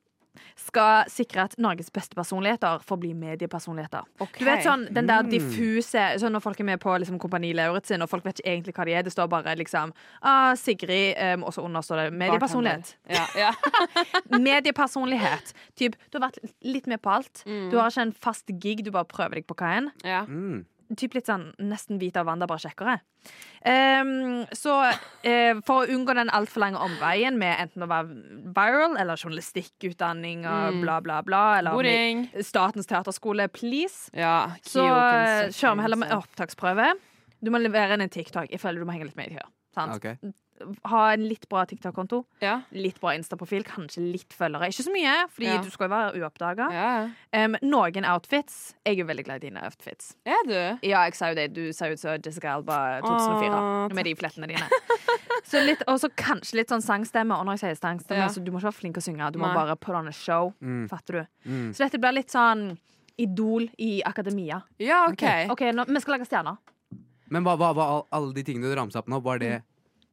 [SPEAKER 5] skal sikre at Norges beste personligheter får bli mediepersonligheter.
[SPEAKER 4] Ok. Mm.
[SPEAKER 5] Du vet sånn, den der diffuse sånn Når folk er med på liksom, Kompani Lauritzen, og folk vet ikke egentlig hva de er, det står bare liksom ah, Sigrid, em, og så understår det mediepersonlighet.
[SPEAKER 4] Ja,
[SPEAKER 5] [LAUGHS]
[SPEAKER 4] ja.
[SPEAKER 5] Mediepersonlighet. Typ, du har vært litt med på alt.
[SPEAKER 4] Mm.
[SPEAKER 5] Du har ikke en fast gig, du bare prøver deg på hva enn
[SPEAKER 4] ja.
[SPEAKER 2] Mm.
[SPEAKER 5] typ litt sånn nesten hvit av Wanda, bare kjekkere. Ehm, så eh, for å unngå den altfor lange omveien med enten å være viral eller journalistikkutdanning og bla, bla, bla, eller
[SPEAKER 4] Mm. Boring.
[SPEAKER 5] Statens teaterskole, please,
[SPEAKER 4] Ja,
[SPEAKER 5] så eh,
[SPEAKER 4] Kyoken,
[SPEAKER 5] kjører vi heller med
[SPEAKER 4] Kyoken.
[SPEAKER 5] opptaksprøve. Du må levere inn en TikTok. Jeg føler du må henge litt med i det her. sant?
[SPEAKER 2] Ok.
[SPEAKER 5] Ha en litt bra TikTok-konto,
[SPEAKER 4] Ja.
[SPEAKER 5] litt bra Insta-profil, kanskje litt følgere. Ikke så mye, fordi
[SPEAKER 4] Ja.
[SPEAKER 5] du skal jo være uoppdaga.
[SPEAKER 4] ja.
[SPEAKER 5] Ehm, noen outfits. Jeg er jo veldig glad i dine outfits.
[SPEAKER 4] Er du?
[SPEAKER 5] Ja, jeg sa jo det. Du sa jo ut som Jessica Alba 2004.
[SPEAKER 4] Åh,
[SPEAKER 5] med de flettene dine. [LAUGHS] Så litt, og så kanskje litt sånn sangstemme. Og når jeg sier sangstemme,
[SPEAKER 4] Ja.
[SPEAKER 5] så du må ikke være flink å synge. Du må
[SPEAKER 4] Nei.
[SPEAKER 5] bare put on a show.
[SPEAKER 2] Mm.
[SPEAKER 5] Fatter du?
[SPEAKER 2] Mm.
[SPEAKER 5] Så dette blir litt sånn Idol i akademia.
[SPEAKER 4] Ja, OK.
[SPEAKER 5] OK, nå, vi skal lage stjerner.
[SPEAKER 2] Men hva var alle de tingene du ramsa opp nå? Var det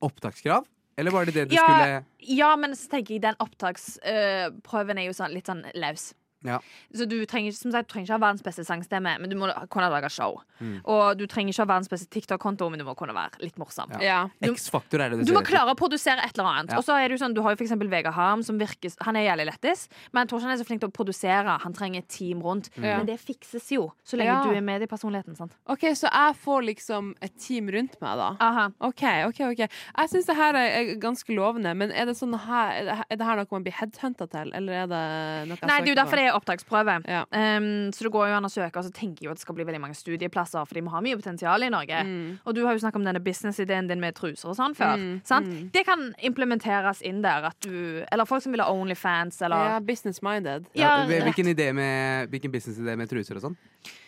[SPEAKER 2] opptakskrav? Eller var det det du
[SPEAKER 5] Mm. Ja.
[SPEAKER 2] skulle
[SPEAKER 5] Ja, men så tenker jeg den opptaksprøven er jo sånn, litt sånn løs.
[SPEAKER 2] Ja.
[SPEAKER 5] Så du trenger, ikke- som sagt, du trenger ikke ha verdens beste sangstemme, men du må kunne lage show.
[SPEAKER 2] Mm.
[SPEAKER 5] Og du trenger ikke ha verdens beste TikTok-konto, men du må kunne være litt morsom.
[SPEAKER 4] Ja.
[SPEAKER 2] Ja.
[SPEAKER 5] Du-
[SPEAKER 2] X-faktor er det det
[SPEAKER 5] Du må
[SPEAKER 2] ser ut som.
[SPEAKER 5] klare å produsere et eller annet.
[SPEAKER 2] Ja.
[SPEAKER 5] Og så er det jo sånn, Du har jo for eksempel Vegard Harm, som virker Han er jævlig lettis, men jeg tror ikke han er så flink til å produsere. Han trenger et team rundt.
[SPEAKER 2] Mm.
[SPEAKER 4] Ja.
[SPEAKER 5] Men det fikses jo, så lenge
[SPEAKER 4] Ja.
[SPEAKER 5] du er med i personligheten. sant?
[SPEAKER 4] OK, så jeg får liksom et team rundt meg, da.
[SPEAKER 5] Aha.
[SPEAKER 4] OK, OK. ok Jeg syns det her er er ganske lovende, men er det, sånn her, er det her noe man blir headhunta til, eller er det noe jeg
[SPEAKER 5] Nei, det er jo
[SPEAKER 4] søker
[SPEAKER 5] derfor
[SPEAKER 4] på?
[SPEAKER 5] det er opptaksprøve.
[SPEAKER 4] Ja.
[SPEAKER 5] Ehm, så det går jo an å søke, og så tenker jeg jo at det skal bli veldig mange studieplasser, for de må ha mye potensial i Norge.
[SPEAKER 4] Mm.
[SPEAKER 5] Og du har jo snakket om denne businessideen din med truser og sånn før. Sant?
[SPEAKER 4] mm.
[SPEAKER 5] Det kan implementeres inn der, at du Eller folk som vil ha Onlyfans,
[SPEAKER 4] Ja,
[SPEAKER 5] eller
[SPEAKER 4] business minded.
[SPEAKER 5] Ja,
[SPEAKER 2] Ja, hvilken idé med, hvilken businessidé med truser og sånn?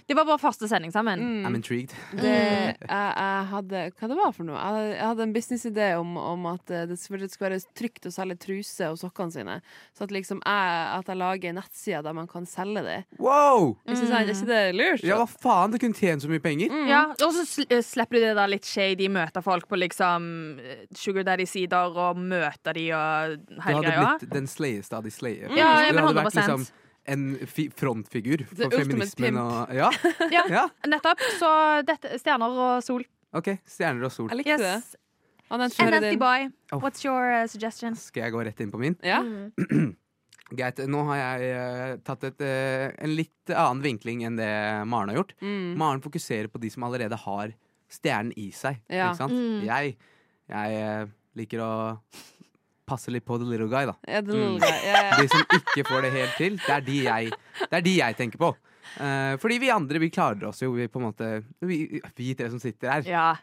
[SPEAKER 5] Det var vår første sending sammen.
[SPEAKER 4] Mm.
[SPEAKER 2] I'm intrigued.
[SPEAKER 4] Det, jeg,
[SPEAKER 5] Mm.
[SPEAKER 4] jeg hadde Hva det var for noe? Jeg hadde, jeg hadde en businessidé om, om at eh, det skulle det skulle være trygt å selge truser og sokkene sine. Så at liksom jeg, at jeg lager en nettside der man kan selge det.
[SPEAKER 2] Wow!
[SPEAKER 4] Hvis jeg sier, er ikke det lurt?
[SPEAKER 2] Ja, hva faen? Det kunne tjent så mye penger.
[SPEAKER 5] Ja, og så sl eh, slipper du det der litt shady, møter folk på liksom eh, Sugar Daddy-sider og møter de og
[SPEAKER 2] Det
[SPEAKER 5] hele
[SPEAKER 2] hadde
[SPEAKER 5] greia.
[SPEAKER 2] blitt den sleieste av de sleie.
[SPEAKER 5] Ja, ja,
[SPEAKER 2] Det
[SPEAKER 5] men
[SPEAKER 2] hadde vært liksom
[SPEAKER 5] 100%.
[SPEAKER 2] en fi frontfigur for
[SPEAKER 4] ultimate
[SPEAKER 2] feminismen
[SPEAKER 4] pimp.
[SPEAKER 2] og Ja,
[SPEAKER 5] Ja,
[SPEAKER 2] [LAUGHS] ja.
[SPEAKER 5] nettopp. Så dette, stjerner og sol.
[SPEAKER 2] OK. Stjerner og sol.
[SPEAKER 4] Jeg likte
[SPEAKER 5] Yes.
[SPEAKER 4] det. Anette,
[SPEAKER 5] And
[SPEAKER 4] kjører din.
[SPEAKER 5] Boy,
[SPEAKER 2] Oh.
[SPEAKER 5] what's your uh, suggestion?
[SPEAKER 2] Skal jeg gå rett inn på min?
[SPEAKER 4] Ja.
[SPEAKER 5] Mm.
[SPEAKER 2] Greit. Nå har jeg eh, tatt et, eh, en litt annen vinkling enn det Maren har gjort. Maren fokuserer på de som allerede har stjernen i seg.
[SPEAKER 4] Ja.
[SPEAKER 2] Ikke sant? Jeg, jeg eh, liker å passe litt på the little guy, da.
[SPEAKER 4] Ja, det
[SPEAKER 2] Mm.
[SPEAKER 4] lille greia. Ja, ja.
[SPEAKER 2] De som ikke får det helt til, det er de jeg, det er de jeg tenker på. Eh, fordi vi andre vi klarer oss jo, vi på en måte Vi, vi tre som sitter her.
[SPEAKER 5] Ja,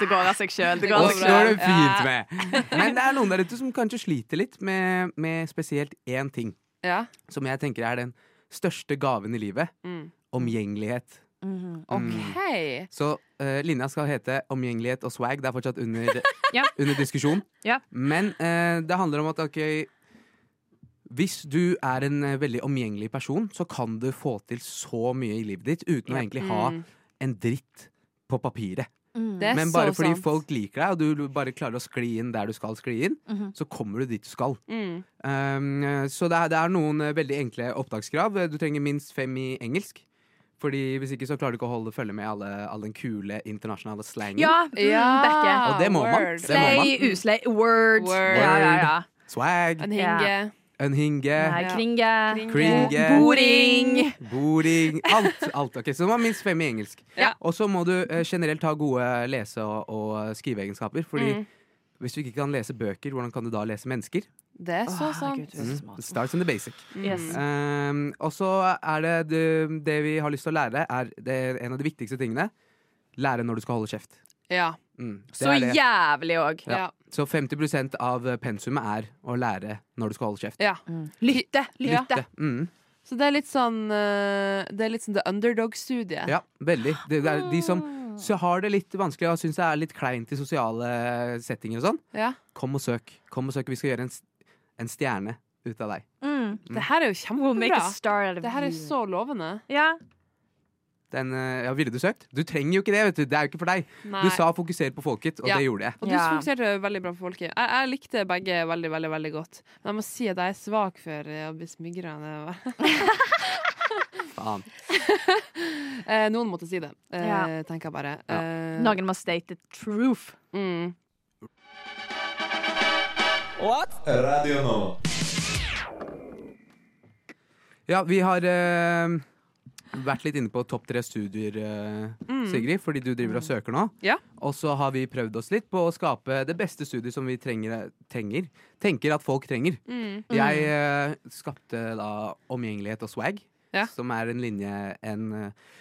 [SPEAKER 5] det går av seg sjøl. Det
[SPEAKER 2] Og
[SPEAKER 5] går av
[SPEAKER 2] så
[SPEAKER 5] seg
[SPEAKER 2] går
[SPEAKER 5] sjøl.
[SPEAKER 2] det fint med! Men det er noen der ute som kanskje sliter litt med, med spesielt én ting.
[SPEAKER 4] Ja.
[SPEAKER 2] Som jeg tenker er den største gaven i livet.
[SPEAKER 4] Mm.
[SPEAKER 2] Omgjengelighet.
[SPEAKER 5] Mhm.
[SPEAKER 2] Mm.
[SPEAKER 4] OK.
[SPEAKER 2] Så eh, linja skal hete omgjengelighet og swag. Det er fortsatt
[SPEAKER 4] [LAUGHS]
[SPEAKER 2] under,
[SPEAKER 5] Ja.
[SPEAKER 2] under diskusjon.
[SPEAKER 5] Ja.
[SPEAKER 2] Men eh, det handler om at ok Hvis du er en eh, veldig omgjengelig person, så kan du få til så mye i livet ditt uten å egentlig ha en dritt på papiret.
[SPEAKER 4] Mm. Det er
[SPEAKER 2] Men bare
[SPEAKER 4] så
[SPEAKER 2] fordi
[SPEAKER 4] sant.
[SPEAKER 2] folk liker deg, og du- du bare klarer å skli inn der du skal skli inn,
[SPEAKER 4] Mhm.
[SPEAKER 2] så kommer du dit du skal.
[SPEAKER 4] Mm.
[SPEAKER 2] Um, så det er, det er noen eh, veldig enkle opptakskrav. Du trenger minst fem i engelsk. Fordi Hvis ikke så klarer du ikke å holde følge med alle, all den kule internasjonale slangen.
[SPEAKER 5] Ja, mm, Bekke.
[SPEAKER 4] Ja,
[SPEAKER 2] Og det må man.
[SPEAKER 4] word.
[SPEAKER 2] Det må man.
[SPEAKER 5] Slay, uslay, word.
[SPEAKER 4] Word.
[SPEAKER 5] Ja, ja, ja.
[SPEAKER 2] Swag,
[SPEAKER 4] En hinge.
[SPEAKER 2] unhinge,
[SPEAKER 5] Nei,
[SPEAKER 4] Ja.
[SPEAKER 5] kringe.
[SPEAKER 2] Kringe.
[SPEAKER 5] Boring.
[SPEAKER 2] boring Alt. alt ok, Så du må ha minst fem i engelsk.
[SPEAKER 4] Ja.
[SPEAKER 2] Og så må du eh, generelt ha gode lese- og, og skriveegenskaper. Fordi
[SPEAKER 5] Mm.
[SPEAKER 2] hvis du ikke kan lese bøker, hvordan kan du da lese mennesker?
[SPEAKER 4] Det er så sant.
[SPEAKER 2] Mm. Starts in the basic.
[SPEAKER 5] Yes.
[SPEAKER 2] Um, og så er det, det det vi har lyst til å lære, er det, en av de viktigste tingene. Lære når du skal holde kjeft.
[SPEAKER 4] Ja.
[SPEAKER 2] Mm, det
[SPEAKER 5] Så
[SPEAKER 2] er det.
[SPEAKER 5] jævlig òg.
[SPEAKER 2] Ja.
[SPEAKER 4] Ja.
[SPEAKER 2] Så 50 av pensumet er å lære når du skal holde kjeft.
[SPEAKER 4] ja.
[SPEAKER 5] Mm. Lytte.
[SPEAKER 4] Ja.
[SPEAKER 5] Lytte.
[SPEAKER 2] Mm,
[SPEAKER 4] Så det er litt sånn eh, Det er litt sånn The Underdog-studiet.
[SPEAKER 2] ja, veldig. Det, det er de som så har det litt vanskelig og syns det er litt kleint i sosiale settinger og sånn,
[SPEAKER 4] Ja.
[SPEAKER 2] kom og søk. Kom og søk. Vi skal gjøre en, s- en stjerne ut av deg.
[SPEAKER 5] Mm.
[SPEAKER 4] Det her er jo
[SPEAKER 5] We'll make
[SPEAKER 4] kjempebra.
[SPEAKER 5] a star out of
[SPEAKER 4] Det her er
[SPEAKER 5] you.
[SPEAKER 4] så lovende.
[SPEAKER 5] Ja.
[SPEAKER 2] Den, eh, ja, ville du søkt? Du trenger jo ikke det, vet du. Det er jo ikke for deg.
[SPEAKER 4] Nei.
[SPEAKER 2] Du sa 'fokuser på folket', og
[SPEAKER 4] Ja.
[SPEAKER 2] det gjorde jeg.
[SPEAKER 4] Og du
[SPEAKER 5] Ja.
[SPEAKER 4] fokuserte veldig bra på folket. Jeg, jeg likte begge veldig veldig, veldig godt. Men jeg må si at jeg er svak for eh, å bli smigra.
[SPEAKER 2] Faen.
[SPEAKER 4] Eh, noen måtte si det, eh,
[SPEAKER 5] Ja.
[SPEAKER 4] tenker jeg bare.
[SPEAKER 2] Ja.
[SPEAKER 4] Eh,
[SPEAKER 5] Noen må state the truth.
[SPEAKER 4] mm.
[SPEAKER 8] What? Radio Nova.
[SPEAKER 2] Ja, vi har eh, vært litt inne på topp tre studier, eh, Sigrid, fordi du driver og søker nå.
[SPEAKER 4] Mm. Ja.
[SPEAKER 2] Og så har vi prøvd oss litt på å skape det beste studiet som vi trenger, trenger tenker at folk trenger.
[SPEAKER 4] Mm.
[SPEAKER 2] Jeg eh, skapte da omgjengelighet og swag,
[SPEAKER 4] Ja.
[SPEAKER 2] som er en linje en eh,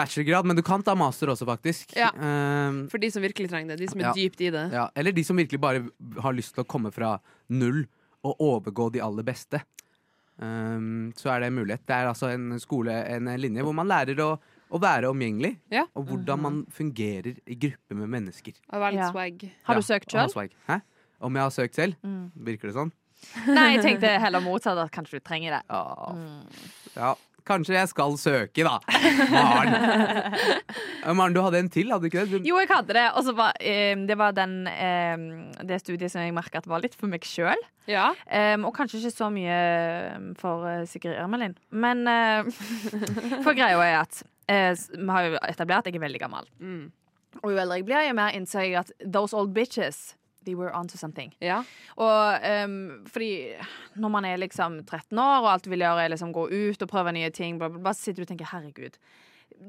[SPEAKER 2] bachelorgrad, men du kan ta master også, faktisk.
[SPEAKER 4] Ja.
[SPEAKER 2] Eh,
[SPEAKER 4] For de som virkelig trenger det. De som er
[SPEAKER 2] Ja.
[SPEAKER 4] dypt i det.
[SPEAKER 2] ja. Eller de som virkelig bare har lyst til å komme fra null og overgå de aller beste. Um, så er det en mulighet. Det er altså en skole, en linje, hvor man lærer å, å være omgjengelig.
[SPEAKER 4] Ja.
[SPEAKER 2] Og hvordan man fungerer i gruppe med mennesker.
[SPEAKER 4] Og veldig
[SPEAKER 5] Ja.
[SPEAKER 4] swag.
[SPEAKER 5] Har du
[SPEAKER 2] Ja,
[SPEAKER 5] søkt Mm.
[SPEAKER 2] og ha
[SPEAKER 5] sjøl?
[SPEAKER 2] swag. Hæ? Om jeg har søkt selv? Virker det sånn?
[SPEAKER 5] [LAUGHS] Nei, jeg tenkte heller motsatt. At kanskje du trenger det.
[SPEAKER 2] Ja.
[SPEAKER 5] Mm.
[SPEAKER 2] ja. Kanskje jeg skal søke, da. Maren.
[SPEAKER 5] [LAUGHS]
[SPEAKER 2] Eh, Maren, du hadde en til, hadde du ikke det? Du,
[SPEAKER 5] Jo, jeg hadde det. Og så var eh, det var den, eh, det studiet som jeg merka var litt for meg sjøl.
[SPEAKER 4] Ja.
[SPEAKER 5] Ehm, og kanskje ikke så mye ehm, for eh, Sigrid Ermelin. Men eh, [LAUGHS] For greia er at eh, s- vi har jo etablert at jeg er veldig gammel.
[SPEAKER 4] Mm.
[SPEAKER 5] Og jo eldre jeg blir, jo mer innser jeg at those old bitches They were onto something.
[SPEAKER 4] Ja.
[SPEAKER 5] Og ehm, fordi når man er liksom 13 år, og alt du vil gjøre er liksom gå ut og prøve nye ting, bla, bla, bla, så sitter du og tenker herregud.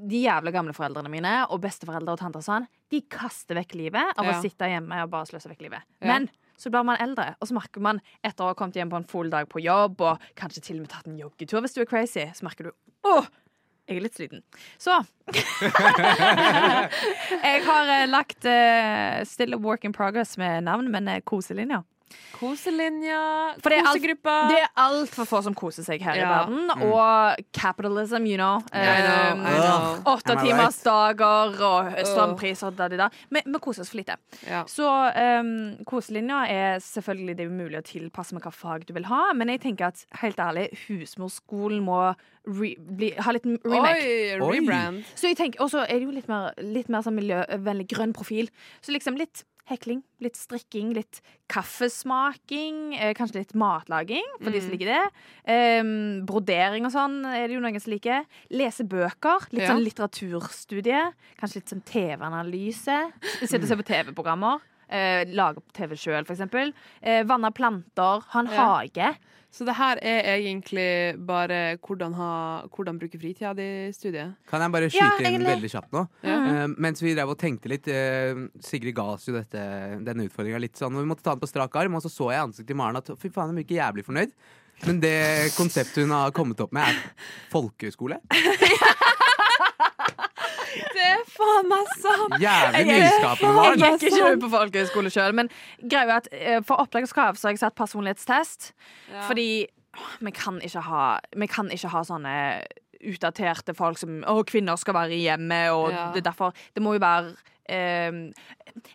[SPEAKER 5] De jævla gamle foreldrene mine og besteforeldre og tanter og sånn, de kaster vekk livet av
[SPEAKER 4] Ja.
[SPEAKER 5] å sitte hjemme og bare sløse vekk livet.
[SPEAKER 4] Ja.
[SPEAKER 5] Men Så blir man eldre, og så merker man etter å ha kommet hjem på en full dag på jobb, og kanskje til og med tatt en joggetur hvis du er crazy, så merker du åh, jeg er litt sliten. Så [LAUGHS] Jeg har eh, lagt eh, still a work in progress med navn, men eh, koselinja.
[SPEAKER 4] Koselinja,
[SPEAKER 5] For det er alt-
[SPEAKER 4] kosegruppa.
[SPEAKER 5] Det er altfor få som koser seg her i
[SPEAKER 4] Ja.
[SPEAKER 5] verden. Og capitalism, you know.
[SPEAKER 4] I
[SPEAKER 5] Eh,
[SPEAKER 4] know, I know.
[SPEAKER 5] Åtte
[SPEAKER 2] Am I
[SPEAKER 5] timers dager og strømpris og da, da, da. Vi, vi koser oss for lite.
[SPEAKER 4] Ja.
[SPEAKER 5] Så um, koselinja er selvfølgelig det er mulig å tilpasse med hva fag du vil ha, men jeg tenker at helt ærlig, husmorskolen må re bli, ha litt remake.
[SPEAKER 4] Oi,
[SPEAKER 2] Oi.
[SPEAKER 4] rebrand.
[SPEAKER 5] Så jeg tenker, Og så er det jo litt mer, litt mer sånn miljøvennlig grønn profil. Så liksom litt hekling, litt strikking, litt kaffesmaking, eh, kanskje litt matlaging, for de som liker det. Em, brodering og sånn er det jo noen som liker. Lese bøker. Litt
[SPEAKER 4] Ja.
[SPEAKER 5] sånn litteraturstudie. Kanskje litt sånn TV-analyse. Sitte og se på TV-programmer. Eh, lage opp TV sjøl, for eksempel. Eh, Vanne planter. Ha en hage.
[SPEAKER 4] Så det her er egentlig bare hvordan, ha, hvordan bruke fritida di-studiet.
[SPEAKER 2] Kan jeg bare skyte
[SPEAKER 5] Ja,
[SPEAKER 2] inn
[SPEAKER 5] egentlig.
[SPEAKER 2] veldig kjapt nå? Eh, mens vi drev og tenkte litt, eh, Sigrid ga oss jo dette, denne utfordringa litt sånn. og Vi måtte ta den på strak arm, og så så jeg i ansiktet til Maren at fy faen, hun virker jævlig fornøyd. Men det konseptet hun har kommet opp med, er folkehøyskole.
[SPEAKER 4] Det er faen meg sant!
[SPEAKER 2] Jævlig nyskapende, Maren.
[SPEAKER 5] Jeg gikk ikke ut på folkehøyskole sjøl, men greia er at eh, for opptakskrav så har jeg satt personlighetstest. Fordi åh, vi kan, ikke ha, vi kan ikke ha sånne utdaterte folk som Å, kvinner skal være i hjemmet, og
[SPEAKER 4] Ja.
[SPEAKER 5] det er derfor Det må jo være eh,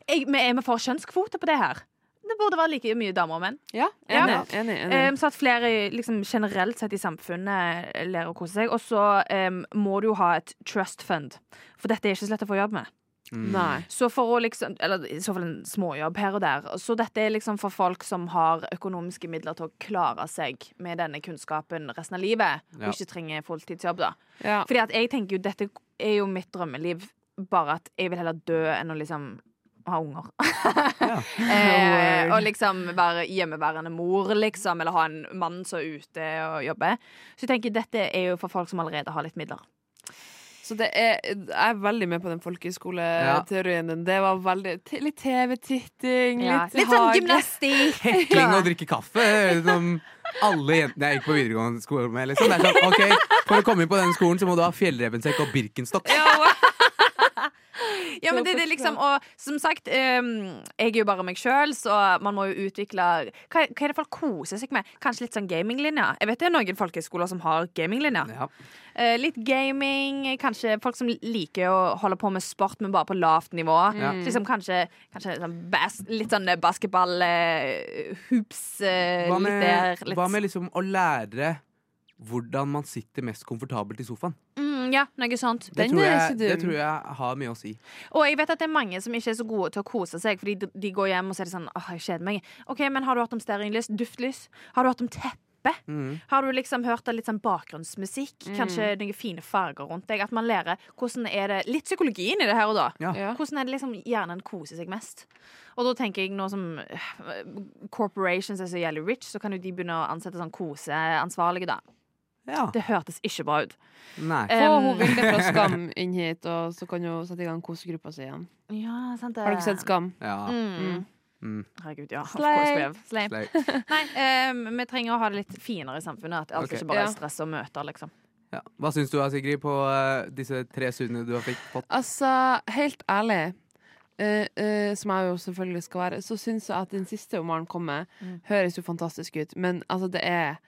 [SPEAKER 5] jeg, vi Er vi for kjønnskvote på det her? Det burde være like mye damer og menn.
[SPEAKER 4] Ja,
[SPEAKER 5] Ja.
[SPEAKER 4] enig. enig, enig.
[SPEAKER 5] Um, så at flere liksom, generelt sett i samfunnet lærer å kose seg. Og så um, må du jo ha et trust fund, for dette er ikke så lett å få jobb med.
[SPEAKER 2] Mm.
[SPEAKER 4] Nei.
[SPEAKER 5] Så for å liksom, eller i så fall en småjobb her og der. Så dette er liksom for folk som har økonomiske midler til å klare seg med denne kunnskapen resten av livet,
[SPEAKER 2] Ja.
[SPEAKER 5] og ikke trenger fulltidsjobb, da.
[SPEAKER 4] Ja.
[SPEAKER 5] Fordi at jeg tenker jo, dette er jo mitt drømmeliv, bare at jeg vil heller dø enn å liksom ha unger. eh, og liksom være hjemmeværende mor, liksom, eller ha en mann som er ute og jobber. Så jeg tenker dette er jo for folk som allerede har litt midler.
[SPEAKER 4] Så det er, jeg er veldig med på den folkehøyskoleteorien din. Det var veldig t- Litt TV-titting,
[SPEAKER 5] Ja.
[SPEAKER 4] litt,
[SPEAKER 5] Litt sånn
[SPEAKER 4] hage.
[SPEAKER 5] gymnastikk.
[SPEAKER 2] Hekling og drikke kaffe, som alle jentene jeg gikk på videregående skole med. Liksom. Det er sånn, ok, For å komme inn på den skolen så må du ha fjellrevensekk og Birkenstock.
[SPEAKER 4] [LAUGHS]
[SPEAKER 5] Ja, men det, det er liksom, og som sagt, ehm, jeg er jo bare meg sjøl, så man må jo utvikle hva, hva er det folk koser seg med? Kanskje litt sånn gaminglinja? Jeg vet det er noen folkehøyskoler som har gaminglinja.
[SPEAKER 2] Ja.
[SPEAKER 5] Eh, litt gaming, kanskje folk som liker å holde på med sport, men bare på lavt nivå.
[SPEAKER 2] Ja.
[SPEAKER 5] Liksom kanskje, kanskje sånn bas, litt sånn eh, basketball, eh, hoops, eh,
[SPEAKER 2] Hva
[SPEAKER 5] litt der.
[SPEAKER 2] med,
[SPEAKER 5] Litt,
[SPEAKER 2] hva med liksom å lære hvordan man sitter mest komfortabelt i sofaen?
[SPEAKER 5] Mm, ja, noe sånt.
[SPEAKER 2] Det
[SPEAKER 4] Den
[SPEAKER 2] tror,
[SPEAKER 4] er
[SPEAKER 2] jeg,
[SPEAKER 4] ikke dum.
[SPEAKER 2] det tror jeg har mye å si.
[SPEAKER 5] Og jeg vet at det er mange som ikke er så gode til å kose seg, fordi de- de går hjem og så er det sånn åh, jeg kjeder meg. Ok, men har du hørt om stearinlys? Duftlys? Har du hørt om teppe?
[SPEAKER 2] Mm.
[SPEAKER 5] Har du liksom hørt av litt sånn bakgrunnsmusikk? Kanskje noen fine farger rundt deg? At man lærer hvordan er det Litt psykologien i det her og da.
[SPEAKER 2] Ja.
[SPEAKER 4] Ja.
[SPEAKER 5] Hvordan er det liksom hjernen koser seg mest? Og da tenker jeg nå som øh, corporations er så jævlig rich, så kan jo de begynne å ansette sånn koseansvarlige, da.
[SPEAKER 2] Ja.
[SPEAKER 5] Det hørtes ikke bra ut.
[SPEAKER 2] Nei.
[SPEAKER 4] Få
[SPEAKER 5] Um,
[SPEAKER 4] hun Vilde fra Skam inn hit, og så kan hun sette i gang kosegruppa si igjen.
[SPEAKER 5] ja, sant det.
[SPEAKER 4] Har du ikke sett Skam?
[SPEAKER 2] Ja.
[SPEAKER 5] Mm.
[SPEAKER 2] Mm.
[SPEAKER 5] Herregud, ja. Of
[SPEAKER 4] Slay.
[SPEAKER 5] course we have. Slay.
[SPEAKER 2] Slay.
[SPEAKER 5] [LAUGHS] Nei, eh, vi trenger å ha det litt finere i samfunnet. At alt
[SPEAKER 2] Ok.
[SPEAKER 5] ikke bare
[SPEAKER 4] Ja.
[SPEAKER 5] er stress og møter, liksom.
[SPEAKER 2] Ja. Hva syns du, Sigrid, på eh, disse tre studiene du har fikk fått?
[SPEAKER 4] Altså, helt ærlig, eh, eh, som jeg jo selvfølgelig skal være, så syns jeg at den siste om Maren kommer, høres jo fantastisk ut. Men altså, det er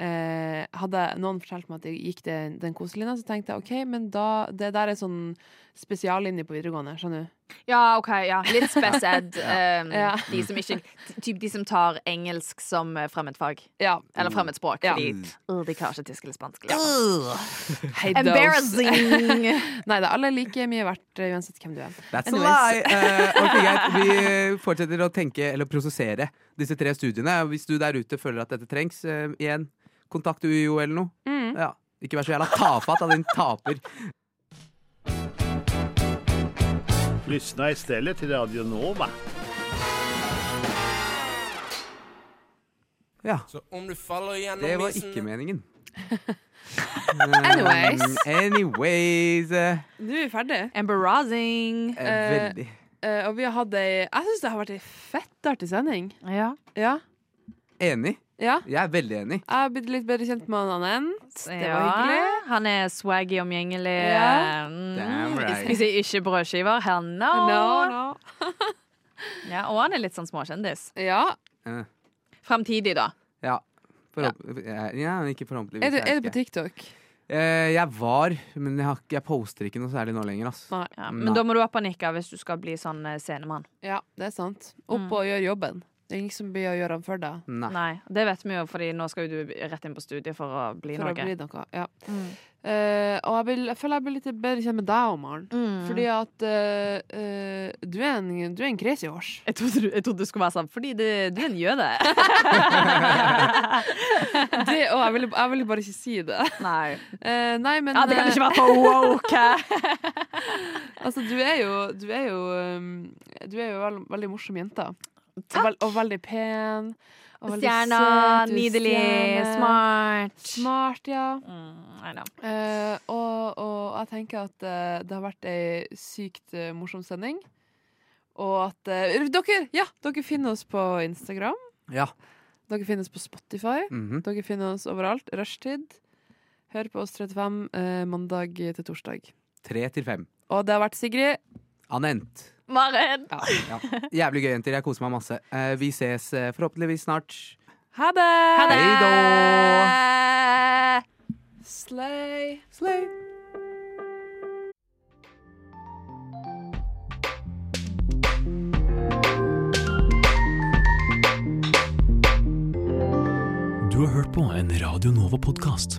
[SPEAKER 4] eh, Hadde noen fortalt meg at jeg gikk den, den koselinja, så tenkte jeg OK, men da, det der er sånn spesiallinje på videregående. Skjønner du?
[SPEAKER 5] Ja, OK. ja Litt spes [LAUGHS] ed. eh,
[SPEAKER 4] Ja.
[SPEAKER 5] De, som ikke, typ de som tar engelsk som eh, fremmedfag.
[SPEAKER 4] Ja.
[SPEAKER 5] Eller fremmedspråk.
[SPEAKER 4] Ja.
[SPEAKER 5] Fordi
[SPEAKER 2] Mm.
[SPEAKER 5] øh, de klarer ikke tysk eller spansk. Liksom.
[SPEAKER 4] Hey, those.
[SPEAKER 5] Embarrassing!
[SPEAKER 4] [LAUGHS] Nei, det er alle like mye verdt eh, uansett hvem du er.
[SPEAKER 2] That's
[SPEAKER 4] Anyways. [LAUGHS]
[SPEAKER 2] a lie! Eh, ok, greit. Vi fortsetter å tenke eller prosessere disse tre studiene. Hvis du der ute føler at dette trengs, eh, igjen, kontakt UiO eller noe.
[SPEAKER 4] Mm.
[SPEAKER 2] Ja. Ikke vær så jævla tafatt av din taper.
[SPEAKER 9] Lyssna istället till Radio Nova.
[SPEAKER 2] Ja.
[SPEAKER 10] Så om du faller gjennom
[SPEAKER 2] Det var
[SPEAKER 10] isen-
[SPEAKER 2] ikke meningen.
[SPEAKER 4] Anyways.
[SPEAKER 2] Um, anyways eh,
[SPEAKER 4] Nå er vi ferdige.
[SPEAKER 5] [LAUGHS] Embarrassing.
[SPEAKER 2] eh, Veldig.
[SPEAKER 4] Eh, og vi har hatt ei Jeg syns det har vært ei fettartig sending.
[SPEAKER 5] Ja.
[SPEAKER 4] Ja.
[SPEAKER 2] Enig.
[SPEAKER 4] ja.
[SPEAKER 2] Jeg er veldig enig.
[SPEAKER 4] Jeg har blitt litt bedre kjent med han Anent. Det var
[SPEAKER 5] Ja,
[SPEAKER 4] hyggelig.
[SPEAKER 5] Han er swaggy omgjengelig.
[SPEAKER 4] Ja.
[SPEAKER 5] Mm.
[SPEAKER 2] Damn right.
[SPEAKER 5] Jeg sier ikke brødskiver. Hell no!
[SPEAKER 4] No, no.
[SPEAKER 5] Ja, og han er litt sånn småkjendis.
[SPEAKER 4] Ja.
[SPEAKER 2] Eh,
[SPEAKER 5] Framtidig, da.
[SPEAKER 2] Ja. Forhåp- ja. ja, ikke forhåpentligvis.
[SPEAKER 4] Er du,
[SPEAKER 2] jeg
[SPEAKER 4] er
[SPEAKER 2] vet
[SPEAKER 4] du på
[SPEAKER 2] ikke.
[SPEAKER 4] TikTok?
[SPEAKER 2] Eh, jeg var, men jeg, har, ikke- jeg poster ikke noe særlig nå lenger. Ass.
[SPEAKER 4] Nei.
[SPEAKER 5] Ja, men
[SPEAKER 2] Nei.
[SPEAKER 5] da må du opp og nikke hvis du skal bli sånn eh, scenemann.
[SPEAKER 4] Ja, det er sant.
[SPEAKER 5] Mm.
[SPEAKER 4] Opp og gjør jobben. Det er ingen som blir å gjøre den for deg.
[SPEAKER 2] Nei.
[SPEAKER 5] Nei, Det vet vi jo, fordi nå skal jo du rett inn på studiet for å bli
[SPEAKER 4] For å
[SPEAKER 5] noe.
[SPEAKER 4] bli noe. Ja.
[SPEAKER 5] Mm.
[SPEAKER 4] Eh, og jeg, vil, jeg føler jeg blir litt bedre kjent med deg, Maren.
[SPEAKER 5] Mm.
[SPEAKER 4] Fordi at eh, eh, du, er en, du er en crazy horse.
[SPEAKER 5] [LAUGHS] Jeg trodde, du, jeg trodde du skulle være sånn fordi det, du er en jøde.
[SPEAKER 4] [LAUGHS] Det, og jeg, ville, jeg ville bare ikke si det.
[SPEAKER 5] [LAUGHS] Nei.
[SPEAKER 4] Eh, nei, men
[SPEAKER 5] Ja, det kan ikke være for woke.
[SPEAKER 4] eh, altså, du er jo Du er jo, um, du er jo veld, veldig morsom jente. Og, vel- og veldig pen. Og veldig
[SPEAKER 5] Stjerna,
[SPEAKER 4] søt, du er
[SPEAKER 5] nydelig,
[SPEAKER 4] stjerne.
[SPEAKER 5] smart.
[SPEAKER 4] Smart, ja.
[SPEAKER 5] Mm, I know.
[SPEAKER 4] Eh, og, og jeg tenker at eh, det har vært ei sykt eh, morsom sending. Og at eh, Dere ja, dere finner oss på Instagram.
[SPEAKER 2] Ja.
[SPEAKER 4] Dere finner oss på Spotify.
[SPEAKER 2] Mhm.
[SPEAKER 4] Dere finner oss overalt. Rushtid. Hør på oss 35 eh, mandag til torsdag.
[SPEAKER 2] Tre til fem.
[SPEAKER 4] Og det har vært Sigrid.
[SPEAKER 2] Anent.
[SPEAKER 5] Maren.
[SPEAKER 2] Ja. Jævlig gøy, jenter. Jeg koser meg masse. Eh, vi ses eh, forhåpentligvis snart.
[SPEAKER 4] Ha det!
[SPEAKER 5] Ha det.
[SPEAKER 2] Hei da!
[SPEAKER 4] Slay.
[SPEAKER 10] Du har hørt på en Radio Nova-podkast.